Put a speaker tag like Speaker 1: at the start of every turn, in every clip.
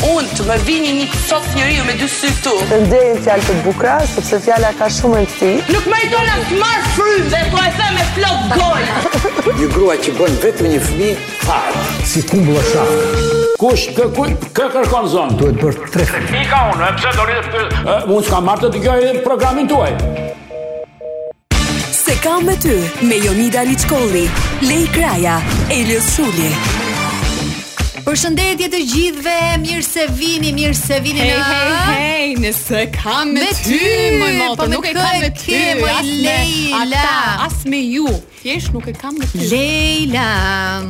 Speaker 1: mund të më vini një sot njeriu me dy sy këtu.
Speaker 2: Të nderin fjalë të bukura, sepse fjala ka shumë rëndësi.
Speaker 1: Nuk më jeton as marr frymë dhe po e them me plot gojë.
Speaker 3: Një grua që bën vetëm një fëmijë fare.
Speaker 4: si kumbulla shafë.
Speaker 5: Kush kë kë, kë kërkon zonë?
Speaker 4: Duhet bërë tre
Speaker 5: Pika unë, e pse do rritë për... Unë s'kam marrë të dëgjoj programin tuaj.
Speaker 6: Se kam me ty me Jonida Liçkolli, Lej Kraja, Elios Shuli.
Speaker 7: Përshëndetje të gjithëve, mirë se vini, mirë se vini
Speaker 8: Hej,
Speaker 7: në
Speaker 8: hej, hej, nëse kam me,
Speaker 7: Me
Speaker 8: ty,
Speaker 7: ty,
Speaker 8: moj motor,
Speaker 7: po me
Speaker 8: nuk e
Speaker 7: kë
Speaker 8: kam
Speaker 7: e
Speaker 8: me ty,
Speaker 7: ke, moj
Speaker 8: as me
Speaker 7: Leila.
Speaker 8: ata, as me ju, thjesht nuk e kam me ty.
Speaker 7: Leila.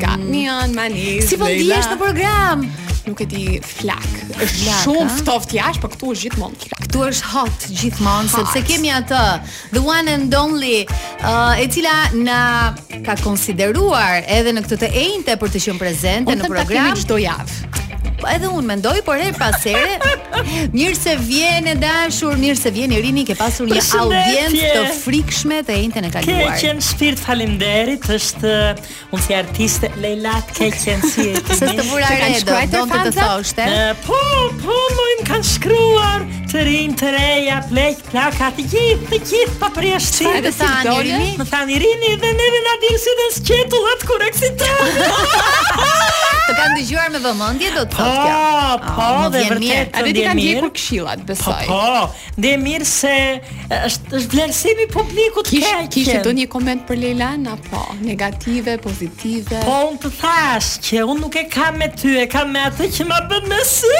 Speaker 8: Ka
Speaker 9: Mm.
Speaker 8: një anë manis,
Speaker 7: Si po
Speaker 8: Leila.
Speaker 7: ndihesh në program?
Speaker 8: Nuk e di flak, është
Speaker 7: Flak,
Speaker 8: shumë
Speaker 7: a?
Speaker 8: ftoft jashtë, por këtu është gjithmonë flak.
Speaker 7: Këtu është hot gjithmonë
Speaker 8: Hot.
Speaker 7: sepse kemi atë the one and only uh, e cila na ka konsideruar edhe në këtë të enjte për të qenë prezente
Speaker 8: Unë
Speaker 7: në
Speaker 8: them ta kemi
Speaker 7: program.
Speaker 8: çdo javë.
Speaker 7: Po, Edhe unë mendoj, por her pas here, mirë se vjen e dashur, mirë se vjen Irini, ke pasur një audiencë të frikshme të enjtën e
Speaker 9: Ke
Speaker 7: kaluar.
Speaker 9: qenë shpirt falimderit, është unë si artiste, Lejlat, ke qenë si e
Speaker 7: Se të
Speaker 9: keni.
Speaker 7: vura
Speaker 8: Se kanë
Speaker 7: re, do
Speaker 8: shkruajtur
Speaker 7: donte të
Speaker 8: fanzat?
Speaker 7: thoshte.
Speaker 9: E, Po, po, më më kanë shkruar të rinë, të reja, plek, plaka, të gjithë, të gjithë, pa përjashtim.
Speaker 7: Çfarë të thanë,
Speaker 9: Dori?
Speaker 7: Irini?
Speaker 9: Më thanë Irini dhe neve na dilë si dhe sqetullat kur eksitojnë.
Speaker 7: Të kanë dëgjuar me vëmendje, do të
Speaker 9: Po,
Speaker 7: thotë kjo.
Speaker 9: po,
Speaker 7: Ah, më
Speaker 9: dhe
Speaker 7: vjen mirë.
Speaker 9: vërtet
Speaker 8: A
Speaker 9: të
Speaker 8: vetë kanë
Speaker 9: ndjen
Speaker 8: ndjekur
Speaker 9: mirë.
Speaker 8: këshillat,
Speaker 9: Po,
Speaker 8: besoj.
Speaker 9: po, ndje mirë se uh, është, është vlerësimi publikut
Speaker 8: Kish,
Speaker 9: keqen.
Speaker 8: kishë do një koment për Leilan apo negative, pozitive?
Speaker 9: Po unë të thash që unë nuk e kam me ty, e kam me atë që ma bën me sy.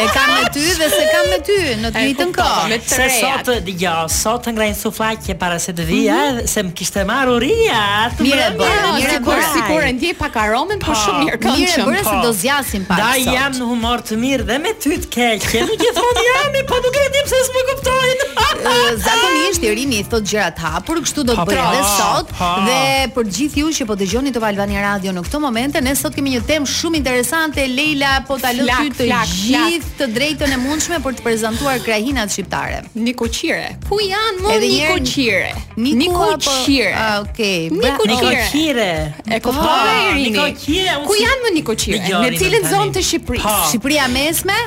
Speaker 7: E kam me ty dhe se kam me ty në të
Speaker 8: E,
Speaker 7: njëjtën
Speaker 8: kuptova,
Speaker 7: kohë.
Speaker 8: me të
Speaker 9: Se
Speaker 8: rejat.
Speaker 9: sot, digjo, sot të ngrajnë suflaqje para se të vija,
Speaker 8: Mhm.
Speaker 9: se më kishte marrë uria. të
Speaker 7: Mire
Speaker 9: mbrëmja.
Speaker 7: bëra,
Speaker 8: Po,
Speaker 7: mire
Speaker 8: sikur
Speaker 7: bëra.
Speaker 8: sikur e ndjej pak aromen, por
Speaker 9: Po,
Speaker 8: shumë mirë
Speaker 7: Mirë e
Speaker 8: këndshëm.
Speaker 7: bëre se do zgjasim pak
Speaker 9: Da
Speaker 7: sot.
Speaker 9: jam në humor të mirë dhe me ty të keqe. Nuk e thonë jam, po nuk e dim se s'më kuptojnë.
Speaker 7: Ë, Zakonisht Irini i thot gjëra të hapur, kështu do të
Speaker 9: Po,
Speaker 7: bëj
Speaker 9: po,
Speaker 7: edhe sot
Speaker 9: po.
Speaker 7: dhe për gjithë ju që po dëgjoni Top Albania Radio në këtë momente, ne sot kemi një temë shumë interesante. Leila po ta lë
Speaker 8: Flak,
Speaker 7: ty të
Speaker 8: flak, flak.
Speaker 7: gjithë të drejtën e mundshme për të prezantuar krahinat shqiptare.
Speaker 8: Një kuqire. Ku janë më
Speaker 7: Edhe
Speaker 8: një
Speaker 7: njerë-
Speaker 8: kuqire?
Speaker 7: Niku
Speaker 8: Një
Speaker 7: apo-
Speaker 8: kuqire.
Speaker 7: Ah, Okej.
Speaker 8: Niku
Speaker 7: bra-
Speaker 8: Niko
Speaker 9: Niko
Speaker 8: Qire.
Speaker 9: Qire.
Speaker 8: E kuptove
Speaker 9: Po,
Speaker 8: Irini?
Speaker 9: Niko Qire, unë
Speaker 8: Ku
Speaker 9: si-
Speaker 8: janë më një kuqire?
Speaker 9: Dëgjoni,
Speaker 8: Në cilën
Speaker 9: tani.
Speaker 8: zonë të Shqipërisë?
Speaker 9: Po.
Speaker 7: Shqipëria mesme?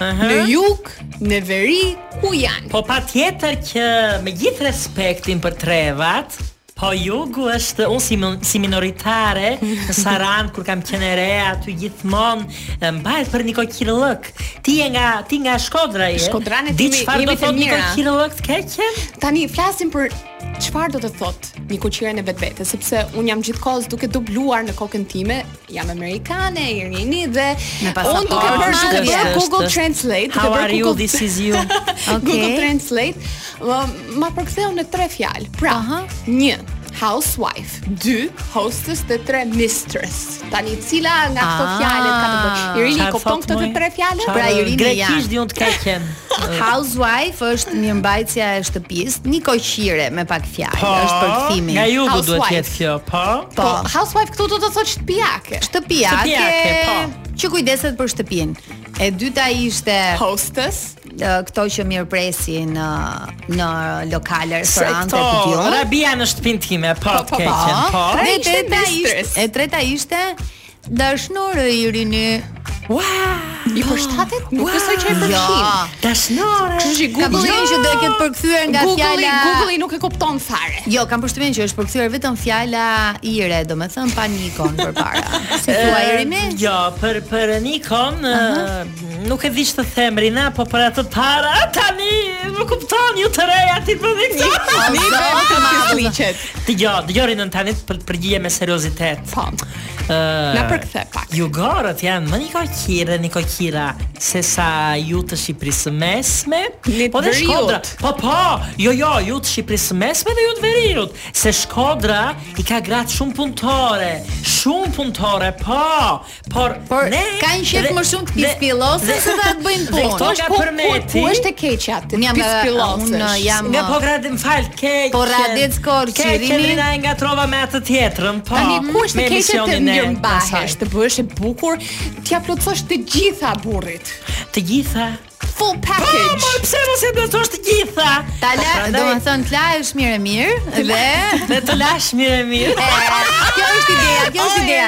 Speaker 9: Aha.
Speaker 8: Në jug, në veri, ku janë?
Speaker 9: Po pa tjetër që me gjithë respektin për trevat, po jugu është, unë si, min- si minoritare, në Saran, kur kam qenë e re, aty gjithmonë, e, mbahet për Niko Kirillëk. Ti je nga, ti nga Shkodra je.
Speaker 8: Shkodranet
Speaker 9: Di
Speaker 8: jemi-
Speaker 9: çfarë do
Speaker 8: jemi të
Speaker 9: thotë Niko
Speaker 8: mira.
Speaker 9: Kirillëk të keqen?
Speaker 8: Tani flasim për çfarë do të thotë një kuqire në vetvete, sepse un jam gjithkohës duke dubluar në kokën time, jam amerikane, Irini dhe
Speaker 7: Me
Speaker 8: un
Speaker 7: pasaportë,
Speaker 8: duke bërë duke
Speaker 7: madje.
Speaker 8: bërë Google
Speaker 9: Është-
Speaker 8: Translate, duke
Speaker 9: How
Speaker 8: bërë
Speaker 9: are you?
Speaker 8: Google
Speaker 9: This is you.
Speaker 8: Google
Speaker 7: Okej.
Speaker 8: Translate, um, ma përktheu në tre fjalë. Pra,
Speaker 7: Aha.
Speaker 8: një housewife, dy hostess dhe tre mistress. Tani cila nga këto
Speaker 7: Ah,
Speaker 8: fjalë ka të bëjë? Irini
Speaker 9: Çfarë
Speaker 8: kupton
Speaker 9: thot
Speaker 8: këto të
Speaker 9: moj?
Speaker 8: tre fjalë?
Speaker 9: Çfarë-
Speaker 7: Pra, Irini,
Speaker 9: Grekisht
Speaker 7: ja.
Speaker 9: di unë të keqen.
Speaker 7: Housewife është mirëmbajtja e shtëpisë, një koqire me pak fjalë, është përkthimi.
Speaker 9: Nga jugu duhet të jetë
Speaker 8: Housewife.
Speaker 9: kjo, po.
Speaker 8: Po, housewife këtu do të thotë shtëpiake.
Speaker 7: Shtëpiake,
Speaker 9: Shtëpiake,
Speaker 8: po.
Speaker 7: që kujdeset për shtëpinë. E dyta ishte
Speaker 8: Hostess,
Speaker 7: ë, këto që mirë presin në në lokale, restorante të
Speaker 9: Po,
Speaker 7: tilla.
Speaker 9: Rabia në shtëpinë time,
Speaker 8: Po,
Speaker 9: po të
Speaker 8: po, po.
Speaker 9: keqen, po.
Speaker 8: Tre
Speaker 7: Dhe
Speaker 8: ishte
Speaker 7: treta
Speaker 8: mistress.
Speaker 7: ishte, e treta ishte dashnore Irini.
Speaker 8: i përshtatet? Po, Nuk besoj që e përfshin.
Speaker 7: Jo.
Speaker 9: Dashnore.
Speaker 8: Kështu që
Speaker 7: Ka
Speaker 8: Google-i
Speaker 7: përshtypjen që do e ketë përkthyer nga
Speaker 8: Google-i
Speaker 7: fjala
Speaker 8: Google-i nuk e kupton fare.
Speaker 7: Jo, kam përshtypjen që është përkthyer vetëm fjala ire, domethënë pa nikon përpara. Si thua Irini?
Speaker 9: Jo, për për Nikon e, nuk e di ç'të them Rina, po për atë para tani më kupton ju të reja ti po di këtë.
Speaker 7: O, zot, ma-
Speaker 8: Liqet.
Speaker 9: Dgjoj, dgjoj Rinën tani për të përgjigje me seriozitet.
Speaker 8: Po.
Speaker 9: Ë,
Speaker 8: Na përkthe pak.
Speaker 9: Jugorët janë më niko kira, niko kira se sa ju të Shqipërisë mesme,
Speaker 8: Në
Speaker 9: po dhe
Speaker 8: veriut.
Speaker 9: Shkodra. Po po, jo jo, ju të Shqipërisë mesme dhe ju të Veriut, se Shkodra i ka gratë shumë punëtore, shumë punëtore, po. Por,
Speaker 7: Por kanë qef
Speaker 9: dhe-
Speaker 7: më shumë të
Speaker 9: dhe-
Speaker 7: pispillose
Speaker 9: dhe-
Speaker 7: se ta të bëjnë
Speaker 9: Dhe
Speaker 7: punë.
Speaker 9: këto
Speaker 7: Tash
Speaker 9: është
Speaker 8: Po,
Speaker 9: po
Speaker 8: ku, ku është e keqja atë?
Speaker 7: Unë jam,
Speaker 8: Pispillosësh.
Speaker 7: unë jam
Speaker 9: Nga po gradë më falë keqen
Speaker 7: Po Radec Korçi,
Speaker 9: Keqen
Speaker 7: Rini.
Speaker 9: rina e nga trova me atë tjetrën Po
Speaker 8: Tani
Speaker 7: Ah.
Speaker 8: ku është
Speaker 9: me
Speaker 8: e keqja të
Speaker 9: emisionin e
Speaker 8: ndërmbahesh,
Speaker 9: pasaj.
Speaker 8: të bëhesh e bukur, t'ia plotësosh të gjitha burrit.
Speaker 9: Të gjitha
Speaker 8: Full
Speaker 9: Po, po,
Speaker 8: package.
Speaker 9: pse mos e plotësosh të gjitha? Pra,
Speaker 7: Ta la,
Speaker 9: Prandaj-
Speaker 7: do më thënë, tla është mirë e mirë dhe...
Speaker 9: dhe të lash mirë e mirë.
Speaker 7: E, Kjo kjo është ideja, kjo është ideja.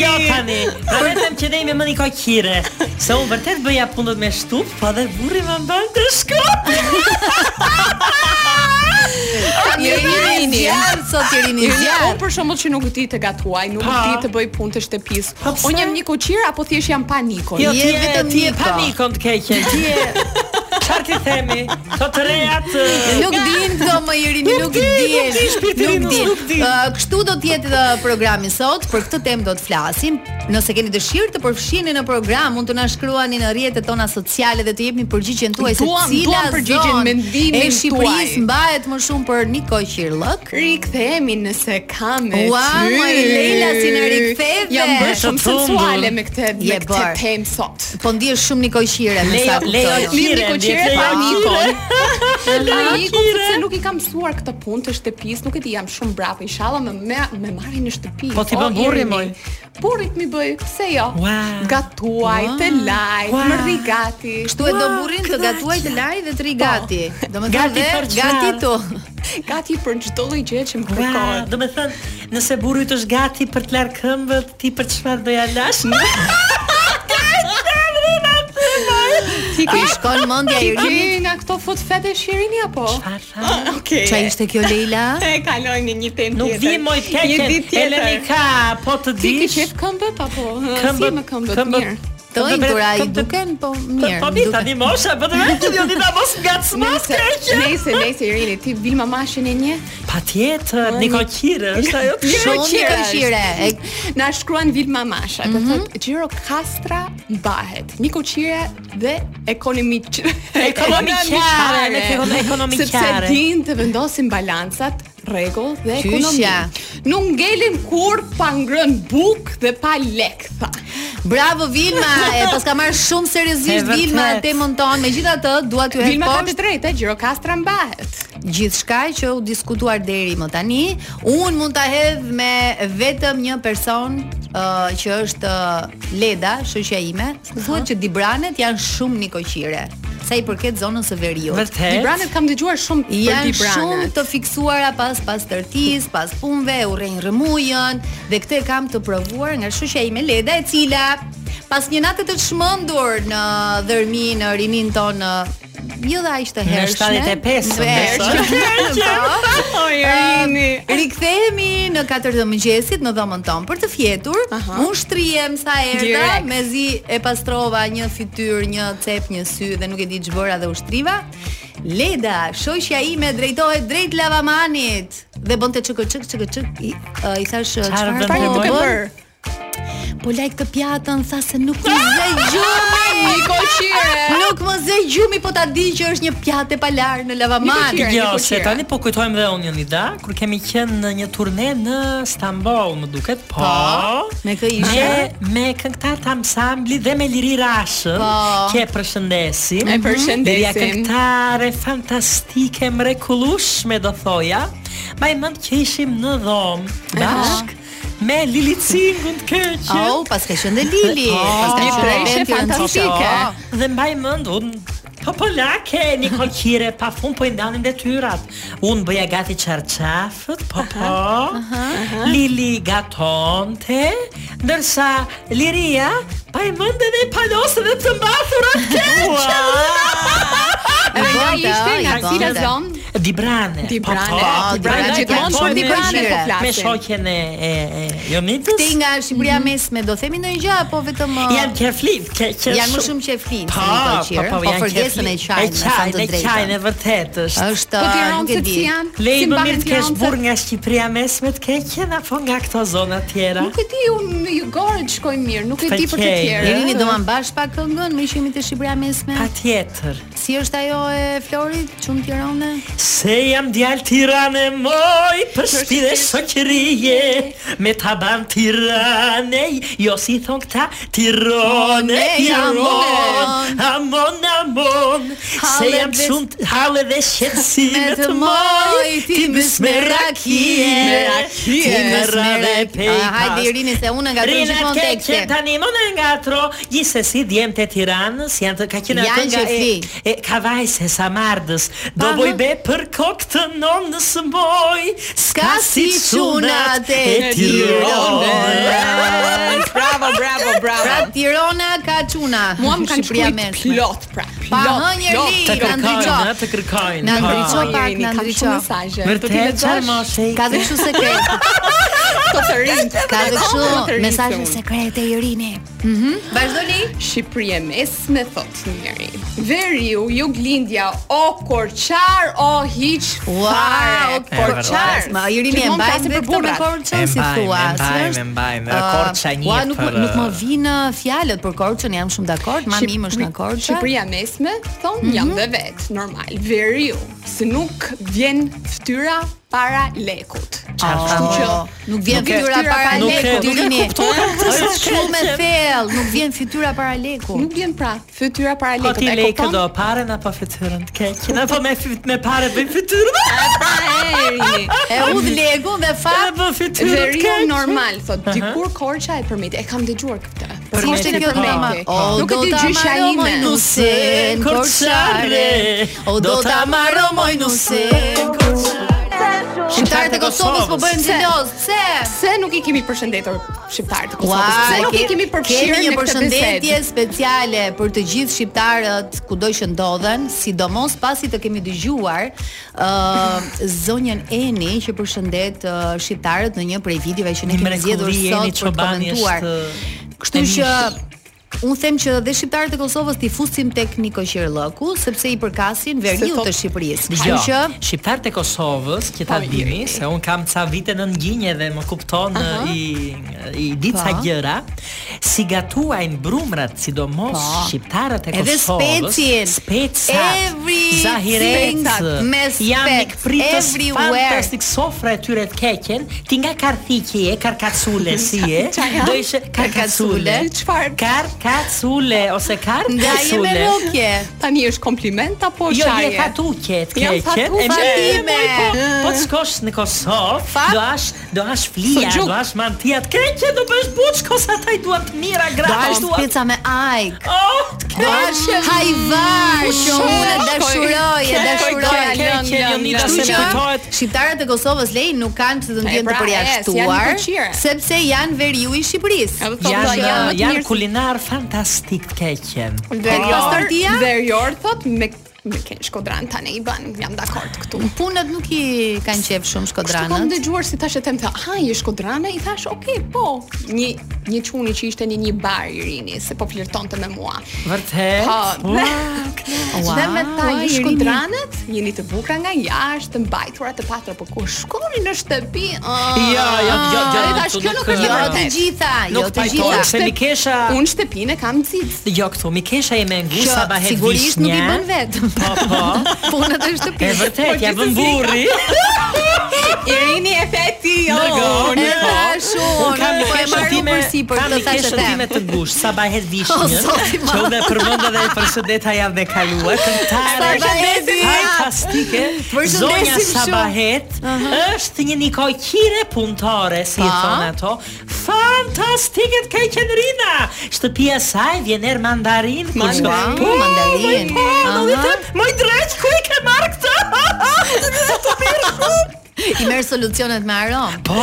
Speaker 9: Jo tani, pra vetëm që ne jemi më një kokire Se unë vërtet bëja punët me shtup Po dhe burri më mbën të shkop
Speaker 7: Irini, Irini, zjarr sot Irini,
Speaker 8: Unë
Speaker 7: zjarr.
Speaker 8: për shembull që nuk di të gatuaj, nuk
Speaker 9: Pa.
Speaker 8: di të bëj punë të shtëpisë.
Speaker 9: Pa pse?
Speaker 8: Unë jam një koqir apo thjesht jam panikon.
Speaker 9: Jo,
Speaker 7: Je
Speaker 9: ti je
Speaker 7: vetëm
Speaker 9: ti je
Speaker 7: Niko.
Speaker 9: panikon të keqen Ti je Qarë ti themi Këto të rejat eh,
Speaker 7: Nuk din këto më Irini, nuk
Speaker 9: di, nuk
Speaker 7: din.
Speaker 9: di, Shpirtëri, nuk- nuk di.
Speaker 7: Ë, Kështu do të jetë ë, programi sot, për këtë temë do të flasim. Nëse keni dëshirë të përfshiheni në program, mund të na shkruani në rrjetet tona sociale dhe të jepni përgjigjen tuaj se
Speaker 8: Duam-
Speaker 7: cila
Speaker 8: duam përgjigjen,
Speaker 7: zonë
Speaker 8: mendimin
Speaker 7: e Shqipërisë
Speaker 8: tuaj.
Speaker 7: mbahet më shumë për Niko Qirllëk.
Speaker 8: Rikthehemi nëse kam e
Speaker 7: Ua,
Speaker 8: ty.
Speaker 7: ma e Leila, si në riktheve.
Speaker 8: Jam bërë shumë
Speaker 9: Të thumbur.
Speaker 8: sensuale me këtë me
Speaker 7: Je
Speaker 8: këtë
Speaker 7: bërë.
Speaker 8: temë sot.
Speaker 7: Po ndihesh shumë Niko Qirre, me sa
Speaker 9: Lejo, lejo,
Speaker 7: kuptoj.
Speaker 8: Lindi
Speaker 9: qire,
Speaker 8: koqire,
Speaker 9: lejo,
Speaker 8: pa
Speaker 9: qire.
Speaker 8: nikon. Ai
Speaker 9: Qire.
Speaker 8: kupton se nuk i kam mësuar këtë punë të shtëpisë, nuk e di, jam shumë brapa. Inshallah më me, me marrin në shtëpi.
Speaker 9: Po ti
Speaker 8: O,
Speaker 9: bën burri,
Speaker 8: Irini.
Speaker 9: moj.
Speaker 8: Burrit mi bëj, pse jo?
Speaker 9: Ua.
Speaker 8: Gatuaj, të laj,
Speaker 9: Ua.
Speaker 8: më rri gati.
Speaker 7: Kështu e do burrin të gatuaj të laj dhe të ri gati. Domethënë
Speaker 9: Po. Gati
Speaker 7: dhe
Speaker 9: për çfarë?
Speaker 7: gati tu.
Speaker 8: Gati për çdo lloj gjë që më
Speaker 9: Ua,
Speaker 8: kërkohet.
Speaker 9: do me thënë, nëse buru të është gati për të larë këmbët, ti për çfarë do ja lash?
Speaker 7: Ti ku i shkon mendja i
Speaker 8: Ti
Speaker 7: ri.
Speaker 8: nga këto fut fete shirini apo?
Speaker 9: Çfarë tha?
Speaker 8: Okej.
Speaker 7: Qa ishte kjo Leila?
Speaker 8: E kaloj në një temë
Speaker 9: Nuk
Speaker 8: tjetër.
Speaker 9: vi moj të
Speaker 8: Një
Speaker 9: keqen,
Speaker 8: ditë tjetër.
Speaker 9: Elenika, po të
Speaker 8: Ti ke
Speaker 9: dish.
Speaker 8: qef këmbët apo?
Speaker 9: Këmbët,
Speaker 8: si me këmbët,
Speaker 9: këmbët.
Speaker 8: mirë.
Speaker 7: Të
Speaker 9: Këmbë
Speaker 7: intura i
Speaker 9: këmbë-
Speaker 7: duken, po mirë.
Speaker 9: Po mi
Speaker 7: duken.
Speaker 9: tani mosha, po të vetë jo ti ta mos ngacmosh
Speaker 8: Nëse,
Speaker 9: keqe.
Speaker 8: nëse, nëse Irini, ti Vilma Mashin e një?
Speaker 9: Patjetër, Niko Qirë, është ajo të
Speaker 8: Shumë
Speaker 7: Shumë
Speaker 8: qira
Speaker 7: Niko
Speaker 8: është.
Speaker 7: Qirre. E-
Speaker 8: Na shkruan Vilma Masha, të
Speaker 9: Mhm.
Speaker 8: thotë Gjiro Kastra mbahet. Një koqire dhe ekonomik
Speaker 9: Ekonomiqare, me thekon ekonomiqare.
Speaker 8: Sepse din të vendosin balancat, rregull dhe
Speaker 7: Qyshja.
Speaker 8: ekonomi. Nuk ngelin kur pa ngrën buk dhe pa lek, tha.
Speaker 7: Bravo Vilma, e paska marrë shumë seriozisht
Speaker 9: E vërtet.
Speaker 7: Vilma temën tonë. Megjithatë, dua t'ju hedh
Speaker 8: Vilma ka të
Speaker 7: poshtë
Speaker 8: drejtë, Gjiro Kastra mbahet.
Speaker 7: gjithçka që u diskutuar deri më tani. Unë mund ta hedh me vetëm një person uh, që është uh, Leda, shoqja ime. Thuhet që Dibranet janë shumë nikoqire sa i përket zonës së veriut.
Speaker 9: Vërtet?
Speaker 8: Dibranet kam dëgjuar shumë për
Speaker 7: janë shumë
Speaker 8: Dibranet.
Speaker 7: të fiksuara pas pastërtis, pas punëve, urrejnë rëmujën dhe këtë e kam të provuar nga shoqja ime Leda e cila pas një nate të çmendur në dhërmi në rinin tonë jo dhe aq të
Speaker 9: Në
Speaker 7: hershme.
Speaker 9: 75
Speaker 7: Në
Speaker 9: besoj.
Speaker 7: hershme, po.
Speaker 8: Oj,
Speaker 7: Ëm, Ehm, Rikthehemi në 4 të mëngjesit në dhomën tonë për të fjetur. Unë shtrihem sa erdha,
Speaker 8: Direkt.
Speaker 7: mezi e pastrova një fytyrë, një cep, një sy dhe nuk e di ç'bëra dhe ushtriva. Leda, shoqja ime drejtohet drejt lavamanit dhe bënte çk çk çk çk i, ë, i thash
Speaker 9: Çfarë
Speaker 7: çfarë
Speaker 9: bën
Speaker 7: po
Speaker 9: ti duke
Speaker 7: bën?"
Speaker 8: bërë?
Speaker 7: Po lajk të pjatën, tha se nuk më
Speaker 8: Ah!
Speaker 7: zë gjumi.
Speaker 8: Nikoqire.
Speaker 7: Nuk më zë gjumi, po ta di që është një pjatë e palar në lavaman.
Speaker 8: Nikoqire.
Speaker 9: Jo,
Speaker 8: Niko
Speaker 9: se
Speaker 8: Qira.
Speaker 9: tani po kujtojmë dhe unë Jonida, kur kemi qenë në një turne në Stamboll, më duket, po.
Speaker 7: me kë ishe?
Speaker 9: Me, me këngëtar të ansambli dhe me Liri Rashën,
Speaker 7: Po.
Speaker 9: që e përshëndesim.
Speaker 8: E përshëndesim.
Speaker 9: Derja këngëtare fantastike, mrekullueshme do thoja. Mbaj mend që ishim në dhomë bashk me Lili Cingun të keq.
Speaker 7: Au, Oh, pas ka qenë dhe Lili.
Speaker 9: Po,
Speaker 7: Pas ka
Speaker 8: një
Speaker 7: qenë
Speaker 8: preshe
Speaker 7: Benti Rëndësi.
Speaker 8: fantastike.
Speaker 9: Dhe mbaj mend unë Po po lake, një kokire, pa fund po i ndanin detyrat. Unë bëja gati qarqafët, po po, Lili gatonte, ndërsa Liria pa i mëndë dhe i palosë dhe të mbathurat keqë.
Speaker 8: Dhe
Speaker 7: E
Speaker 8: ja
Speaker 7: bënte,
Speaker 8: ishte
Speaker 7: e
Speaker 8: nga
Speaker 7: bënte.
Speaker 8: cila zonë?
Speaker 9: Dibrane,
Speaker 8: Dibrane,
Speaker 9: po po,
Speaker 7: Dibrane,
Speaker 9: Dibrane,
Speaker 7: gjithmonë
Speaker 9: po,
Speaker 7: shumë
Speaker 9: me-
Speaker 7: Dibrane po
Speaker 9: Me
Speaker 8: flasin.
Speaker 9: shokjen e, e, e jo Jonitës.
Speaker 7: Ti nga Shqipëria mesme do themi ndonjë gjë apo vetëm uh,
Speaker 9: Janë qeflit, ke, ke
Speaker 7: janë më shumë qeflin se
Speaker 9: Po,
Speaker 7: nikoqir.
Speaker 9: po, po,
Speaker 7: Po
Speaker 9: janë
Speaker 7: fërgesën e
Speaker 9: qeflit.
Speaker 7: qajnë, me sa të
Speaker 9: E qajnë,
Speaker 7: drejtën.
Speaker 9: e vërtet është.
Speaker 7: Është
Speaker 8: Po
Speaker 7: uh,
Speaker 8: Tiranë
Speaker 7: nuk e
Speaker 8: se
Speaker 7: di.
Speaker 8: si janë?
Speaker 9: Lej
Speaker 8: si
Speaker 9: më
Speaker 8: mbahen
Speaker 9: mirë të kesh
Speaker 8: Tiranë se-
Speaker 9: burr nga Shqipëria mesme të keqen apo nga këto zona tjera?
Speaker 8: Nuk e di unë në Jugorë të shkojnë mirë, nuk e di për të
Speaker 9: Pëlqej.
Speaker 8: tjerë.
Speaker 7: Jerini do ma mbash pak këngën me qimit e Shqipëria mesme.
Speaker 9: Pa tjetër
Speaker 7: Si është ajo e Florit, çum Tiranë?
Speaker 9: Se jam djalë tirane moj Për shpi dhe shoqërije Me taban tirane Jo si thon këta tirone
Speaker 7: One,
Speaker 9: Jamon,
Speaker 7: jamon.
Speaker 9: amon, amon Se jam shumë të hale dhe shqetsime
Speaker 7: Me
Speaker 9: të moj Ti mësmera kje Ti mësmera e pejka
Speaker 7: Hajde Irini se unë nga të gjithmonë
Speaker 9: ke
Speaker 7: tekstin.
Speaker 9: qenë tani më në nga atro Gjithsesi djemtë e Tiranës janë të ka qenë ato
Speaker 7: Janë
Speaker 9: nga e,
Speaker 7: qefi.
Speaker 9: e Kavajse Samardës Do
Speaker 7: Aha.
Speaker 9: boj be për kokë të nonë në sëmboj Ska si qunat e Tiranës
Speaker 2: Bravo, bravo, bravo.
Speaker 7: Pra Tirana ka çuna.
Speaker 8: Mua më kanë
Speaker 7: Shqipëria
Speaker 8: shkruajt
Speaker 7: mesme.
Speaker 8: plot pra.
Speaker 7: Pa
Speaker 8: Plot,
Speaker 7: hënjer
Speaker 8: plot.
Speaker 7: li,
Speaker 9: Të
Speaker 7: na
Speaker 9: kërkojnë,
Speaker 7: ndryqo.
Speaker 9: ha, të kërkojnë
Speaker 7: Na
Speaker 9: po.
Speaker 7: ndryqo
Speaker 8: Irini,
Speaker 7: pak, na
Speaker 8: kam
Speaker 7: ndryqo.
Speaker 8: shumë mesazhe. Do t'i
Speaker 9: Vërtet,
Speaker 8: lexosh?
Speaker 9: qarë moshe
Speaker 7: Ka dhe kështu sekret,
Speaker 8: Këto të rinj.
Speaker 7: ka dhe kështu
Speaker 8: Kotërinj,
Speaker 7: mesazhe
Speaker 8: thonë.
Speaker 7: sekrete Irini. Mhm. Vazhdo li.
Speaker 8: Shqipëri e mesme thot një njeri. Veriu, Juglindja, o korçar, o hiç
Speaker 7: Ua,
Speaker 8: fare.
Speaker 7: o
Speaker 8: korçar.
Speaker 7: Ma Irini e
Speaker 8: Gjithmonë
Speaker 7: mbaj
Speaker 8: flasin
Speaker 7: me
Speaker 8: për
Speaker 7: këtë me
Speaker 8: burrat.
Speaker 7: korçën si
Speaker 9: E mbajmë,
Speaker 7: thua.
Speaker 9: e mbajmë,
Speaker 7: s'është?
Speaker 9: e mbajmë, e
Speaker 7: Ah,
Speaker 9: korça një
Speaker 7: Ua, nuk më-
Speaker 9: për,
Speaker 7: nuk më
Speaker 9: eh,
Speaker 7: vinë fjalët për korçën, jam shumë dakord. Mami im është nga korça. Mhm.
Speaker 8: Shqipëria mesme, thon jam dhe vet, normal. Veriu, se nuk vjen fytyra para lekut. Kështu që
Speaker 7: Oh. nuk vjen
Speaker 8: e-
Speaker 7: fytyra para
Speaker 8: para
Speaker 7: lekut,
Speaker 8: lekut,
Speaker 9: nuk e
Speaker 7: Irini.
Speaker 9: kuptova këtë
Speaker 7: Është
Speaker 9: se
Speaker 7: shumë e
Speaker 9: shkëlqem.
Speaker 7: thellë, nuk vjen fytyra para lekut.
Speaker 8: Nuk vjen pra fytyra para
Speaker 9: Po
Speaker 8: lekut.
Speaker 9: ti
Speaker 8: e
Speaker 9: lejke
Speaker 8: kupton?
Speaker 9: do pare na pa fytyrën të keqin Apo me, fyt- me pare bëj fytyrën
Speaker 8: E pra e Irini.
Speaker 7: E udh legun dhe
Speaker 9: E
Speaker 7: fat
Speaker 9: bë fytyrën të
Speaker 8: Veriu
Speaker 9: keqin
Speaker 8: normal, thot dikur korça e përmeti. E kam dëgjuar këtë.
Speaker 7: Si
Speaker 8: Korça
Speaker 7: ishte
Speaker 8: e
Speaker 7: kjo
Speaker 8: përmeti.
Speaker 7: tema? O,
Speaker 8: Nuk e
Speaker 7: do
Speaker 8: di
Speaker 7: ta
Speaker 8: gjysha
Speaker 7: marrë,
Speaker 8: ime.
Speaker 7: moj, nusen, korçare O do ta marrë moj nusen, korçare Shqiptarët e Kosovës po bëjnë
Speaker 8: Pse?
Speaker 7: ziloz, pse?
Speaker 8: Pse nuk i kemi përshëndetur shqiptarët e
Speaker 7: Ua,
Speaker 8: Kosovës? Pse nuk i
Speaker 7: ke-
Speaker 8: kemi përfshirë
Speaker 7: kemi
Speaker 8: në
Speaker 7: një
Speaker 8: këtë
Speaker 7: përshëndetje
Speaker 8: bisedë?
Speaker 7: speciale për të gjithë shqiptarët kudo që ndodhen, sidomos pasi të kemi dëgjuar ë zonjën Eni që përshëndet ë, shqiptarët në një prej videove që ne
Speaker 9: Një
Speaker 7: kemi zgjedhur
Speaker 9: mrekulli, Eni
Speaker 7: sot për të
Speaker 9: Çobani
Speaker 7: komentuar.
Speaker 9: është,
Speaker 7: Kështu
Speaker 9: e
Speaker 7: që Unë them që dhe shqiptarët e Kosovës t'i fusim tek Niko Qirlloku, sepse i përkasin veriut
Speaker 8: thot-
Speaker 7: të Shqipërisë. Kështu
Speaker 9: Jo,
Speaker 7: që
Speaker 9: shqiptarët e Kosovës, që ta
Speaker 8: Po,
Speaker 9: dini
Speaker 8: jemi.
Speaker 9: se un kam ca vite në ngjinje dhe më kupton i i di ca
Speaker 7: Po.
Speaker 9: gjëra, si gatuajnë brumrat, sidomos
Speaker 7: Po.
Speaker 9: shqiptarët e
Speaker 7: Edhe
Speaker 9: Kosovës,
Speaker 7: specien,
Speaker 9: specat,
Speaker 7: every
Speaker 9: zahiret,
Speaker 7: specat, me
Speaker 9: jam
Speaker 7: spec,
Speaker 9: mik pritës
Speaker 7: everywhere.
Speaker 9: fantastik sofra e tyre të keqen, ti nga karthiki e karkacule si e, do ishe karkacule,
Speaker 8: Çfarë?
Speaker 9: karkacule ose
Speaker 7: ndaje me
Speaker 9: karkacule.
Speaker 7: rokje.
Speaker 8: Tani është kompliment apo
Speaker 9: Jo, je
Speaker 8: çaje?
Speaker 9: fatuke të
Speaker 8: Jam
Speaker 9: keqen.
Speaker 8: fatuke.
Speaker 9: e më- e
Speaker 7: Fatime.
Speaker 9: moj, po- Jo, Po të shkosh në Kosovë,
Speaker 7: Fat.
Speaker 9: do ash, do ash flija,
Speaker 8: Sujuk.
Speaker 9: do ash mantia të keqe, do bësh buç kosa ata i duan të mira
Speaker 7: Do
Speaker 9: gratë.
Speaker 7: është pjeca me ajk.
Speaker 9: Oh, të
Speaker 7: Bash
Speaker 9: keqe.
Speaker 7: hajvar që unë e
Speaker 8: shkoj.
Speaker 7: dashuroj, e
Speaker 8: Shkoj,
Speaker 7: dashuroj.
Speaker 8: shkoj, lën,
Speaker 9: Keqe,
Speaker 8: lën,
Speaker 9: Jonida,
Speaker 8: lën.
Speaker 9: se
Speaker 7: Kështu
Speaker 9: më kujtohet.
Speaker 7: që shqiptarët e Kosovës lej nuk kanë pse të ndjenë
Speaker 8: pra,
Speaker 7: të
Speaker 8: e, si janë
Speaker 7: përjashtuar,
Speaker 8: hipokrirë.
Speaker 7: sepse janë veriu i Shqipërisë.
Speaker 8: Edhe thotë,
Speaker 9: Janë
Speaker 8: "Vlla, janë më të
Speaker 9: janë
Speaker 8: mirë si-
Speaker 9: kulinar fantastik të keqen.
Speaker 8: Verior,
Speaker 7: Pastartia?
Speaker 8: verior Ah. thot me me ke shkodran tani i bën, jam dakord këtu.
Speaker 7: Punët nuk i kanë qef
Speaker 8: Kështu
Speaker 7: shumë
Speaker 8: kam
Speaker 7: shkodranët.
Speaker 8: dëgjuar si tash e them tha, "Ha, je shkodrane?" I thash, "Okej, po." Një një çuni që ishte në një bar i rini, se po flirtonte me mua.
Speaker 9: Vërtet?
Speaker 8: Po.
Speaker 9: Ua,
Speaker 7: Ua,
Speaker 8: Dhe me ta
Speaker 7: ua,
Speaker 8: ju
Speaker 7: Irini.
Speaker 8: shkodranet, jeni të bukura nga jashtë, të mbajtura të patra, po kur shkoni në shtëpi, Ah. ëh.
Speaker 9: Jo, jo, jo, jo,
Speaker 8: Ai thash,
Speaker 9: nuk-
Speaker 8: kjo
Speaker 9: nuk-
Speaker 8: nuk është
Speaker 7: Jo të
Speaker 8: vërtet.
Speaker 7: gjitha, jo
Speaker 9: Nuk
Speaker 7: të
Speaker 9: pajtohet
Speaker 7: gjitha.
Speaker 9: se Mikesha
Speaker 8: Unë shtëpinë kam nxit.
Speaker 9: Jo këtu, Mikesha e me ngu
Speaker 7: Që
Speaker 9: sa bahet
Speaker 7: sigurisht nuk i
Speaker 8: eh?
Speaker 9: vishnja.
Speaker 7: bën vetëm.
Speaker 9: Po, po.
Speaker 7: Punët e
Speaker 9: E
Speaker 7: shtëpisë.
Speaker 9: vërtet,
Speaker 8: Po,
Speaker 9: ja bën
Speaker 8: gjithsesi.
Speaker 9: burri.
Speaker 8: Irini e feti, jo.
Speaker 9: Dërgo,
Speaker 7: Oh, E
Speaker 9: po.
Speaker 7: dashu,
Speaker 9: Unë kam
Speaker 7: unë
Speaker 9: një
Speaker 7: po e
Speaker 9: kesh
Speaker 7: marru
Speaker 9: shëndime,
Speaker 7: për si për
Speaker 9: kam
Speaker 7: të
Speaker 9: një
Speaker 7: thash
Speaker 9: kesh
Speaker 7: e them.
Speaker 9: shëndime të ngushtë, sa bahet
Speaker 7: O,
Speaker 9: vishnjën,
Speaker 7: zoti
Speaker 9: që
Speaker 7: madh.
Speaker 9: unë e përmënda dhe e përshëndeta javë dhe kalua,
Speaker 7: Sa
Speaker 9: këntare,
Speaker 7: bahet vishnjën.
Speaker 9: fantastike,
Speaker 7: Përshëndesim
Speaker 9: zonja sa
Speaker 7: shumë.
Speaker 9: bahet, është një nikoj kire punëtore, si i
Speaker 7: Pa.
Speaker 9: thonë ato, fantastike të kaj qenrina, shtëpia saj vjen er mandarin, kur shko-
Speaker 7: Mandarin,
Speaker 9: Po,
Speaker 7: mandarin.
Speaker 9: Po,
Speaker 7: Aha.
Speaker 9: dhe them, moj dreq, ku i ke marrë këtë? Të mirë shumë.
Speaker 7: I merr solucionet me aromë.
Speaker 9: Po,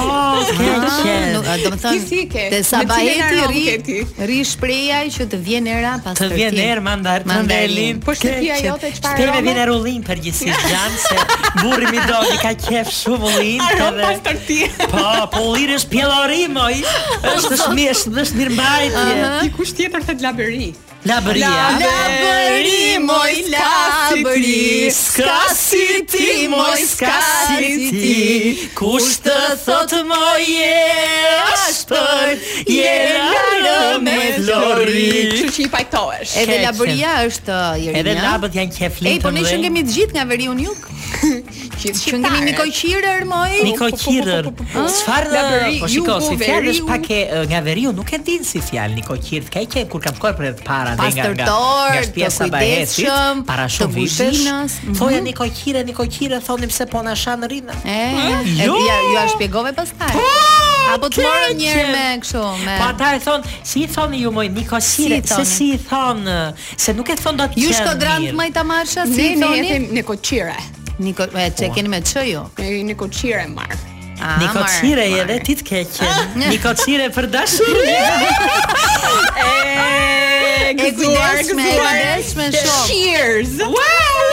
Speaker 9: ke qenë.
Speaker 7: Nuk, do të
Speaker 8: Ti si e
Speaker 7: thënë,
Speaker 8: ke?
Speaker 7: te sa
Speaker 8: Me
Speaker 7: baheti
Speaker 8: cilën aromë
Speaker 7: ri,
Speaker 8: ke ti?
Speaker 7: ri shpreha që të vjen era pas
Speaker 9: Të vjen
Speaker 7: tërtim.
Speaker 9: erë mandar, mandarin.
Speaker 8: Po shtëpia
Speaker 9: Keqen.
Speaker 8: jote çfarë
Speaker 9: Shtëpia me
Speaker 8: arome?
Speaker 9: vjen rullim përgjithsisht gjan se burri mi doli ka qef shumë ullin.
Speaker 8: Aromë pas tërtie.
Speaker 9: Po, po ullin është pjellori moj. Është është mirë, është është mirë mbajtje.
Speaker 8: Dikush tjetër thot laberi.
Speaker 9: Labëria.
Speaker 7: Labëri, moj labëri, s'ka si ti, moj s'ka si ti.
Speaker 9: Kush të thotë moj je ashtër, je larë me flori.
Speaker 8: Kështu që i pajtohesh.
Speaker 7: Edhe
Speaker 9: Keqen.
Speaker 7: laboria është uh, Irina.
Speaker 9: Edhe labët janë qeflin
Speaker 7: Ej, po ne
Speaker 9: të
Speaker 7: që
Speaker 9: mëdhenj.
Speaker 7: kemi të gjithë nga veriu juk. Që kemi Niko Qirër, moj.
Speaker 9: Niko Qirër. Çfarë
Speaker 8: Nga veri,
Speaker 9: po shiko
Speaker 8: jugu,
Speaker 9: si fjalë është
Speaker 8: veriu.
Speaker 9: pak e e, nga veriu nuk e din si fjalë Niko Qirër. Ka qenë kur kam kohë për të para dhe nga nga
Speaker 7: Pastërtor,
Speaker 9: nga
Speaker 7: të
Speaker 9: pjesa e Bahesit,
Speaker 7: kujdesshëm,
Speaker 9: para
Speaker 7: të
Speaker 9: shumë vitesh.
Speaker 7: kuzhinës,
Speaker 9: Thoja një kokire, një kokire, thonim se po na shan rinë.
Speaker 7: E, e
Speaker 9: Jo!
Speaker 7: ja, ju a shpjegove pastaj.
Speaker 9: Po,
Speaker 7: Apo të morëm
Speaker 9: keqe.
Speaker 7: një herë me kështu me.
Speaker 9: Po ata e thon, si i thoni ju moj
Speaker 7: Si i
Speaker 9: Nikosire, se
Speaker 7: thoni?
Speaker 9: si i thon, se nuk e thon dot.
Speaker 7: Ju
Speaker 9: qenë
Speaker 7: shkodrant
Speaker 9: mirë.
Speaker 7: maj tamasha si
Speaker 8: Ne
Speaker 7: i
Speaker 8: ne e
Speaker 7: thoni?
Speaker 8: them në koqire.
Speaker 7: Niko, e
Speaker 9: Po.
Speaker 7: çe keni me ç ju.
Speaker 8: Ne në koqire marr.
Speaker 7: A,
Speaker 9: Nikocire
Speaker 7: marr,
Speaker 9: edhe
Speaker 7: marr.
Speaker 9: ti të keqen. Nikocire për dashuri.
Speaker 8: Ah! E
Speaker 7: E kujdesshme, e kujdesshme shumë.
Speaker 8: Cheers.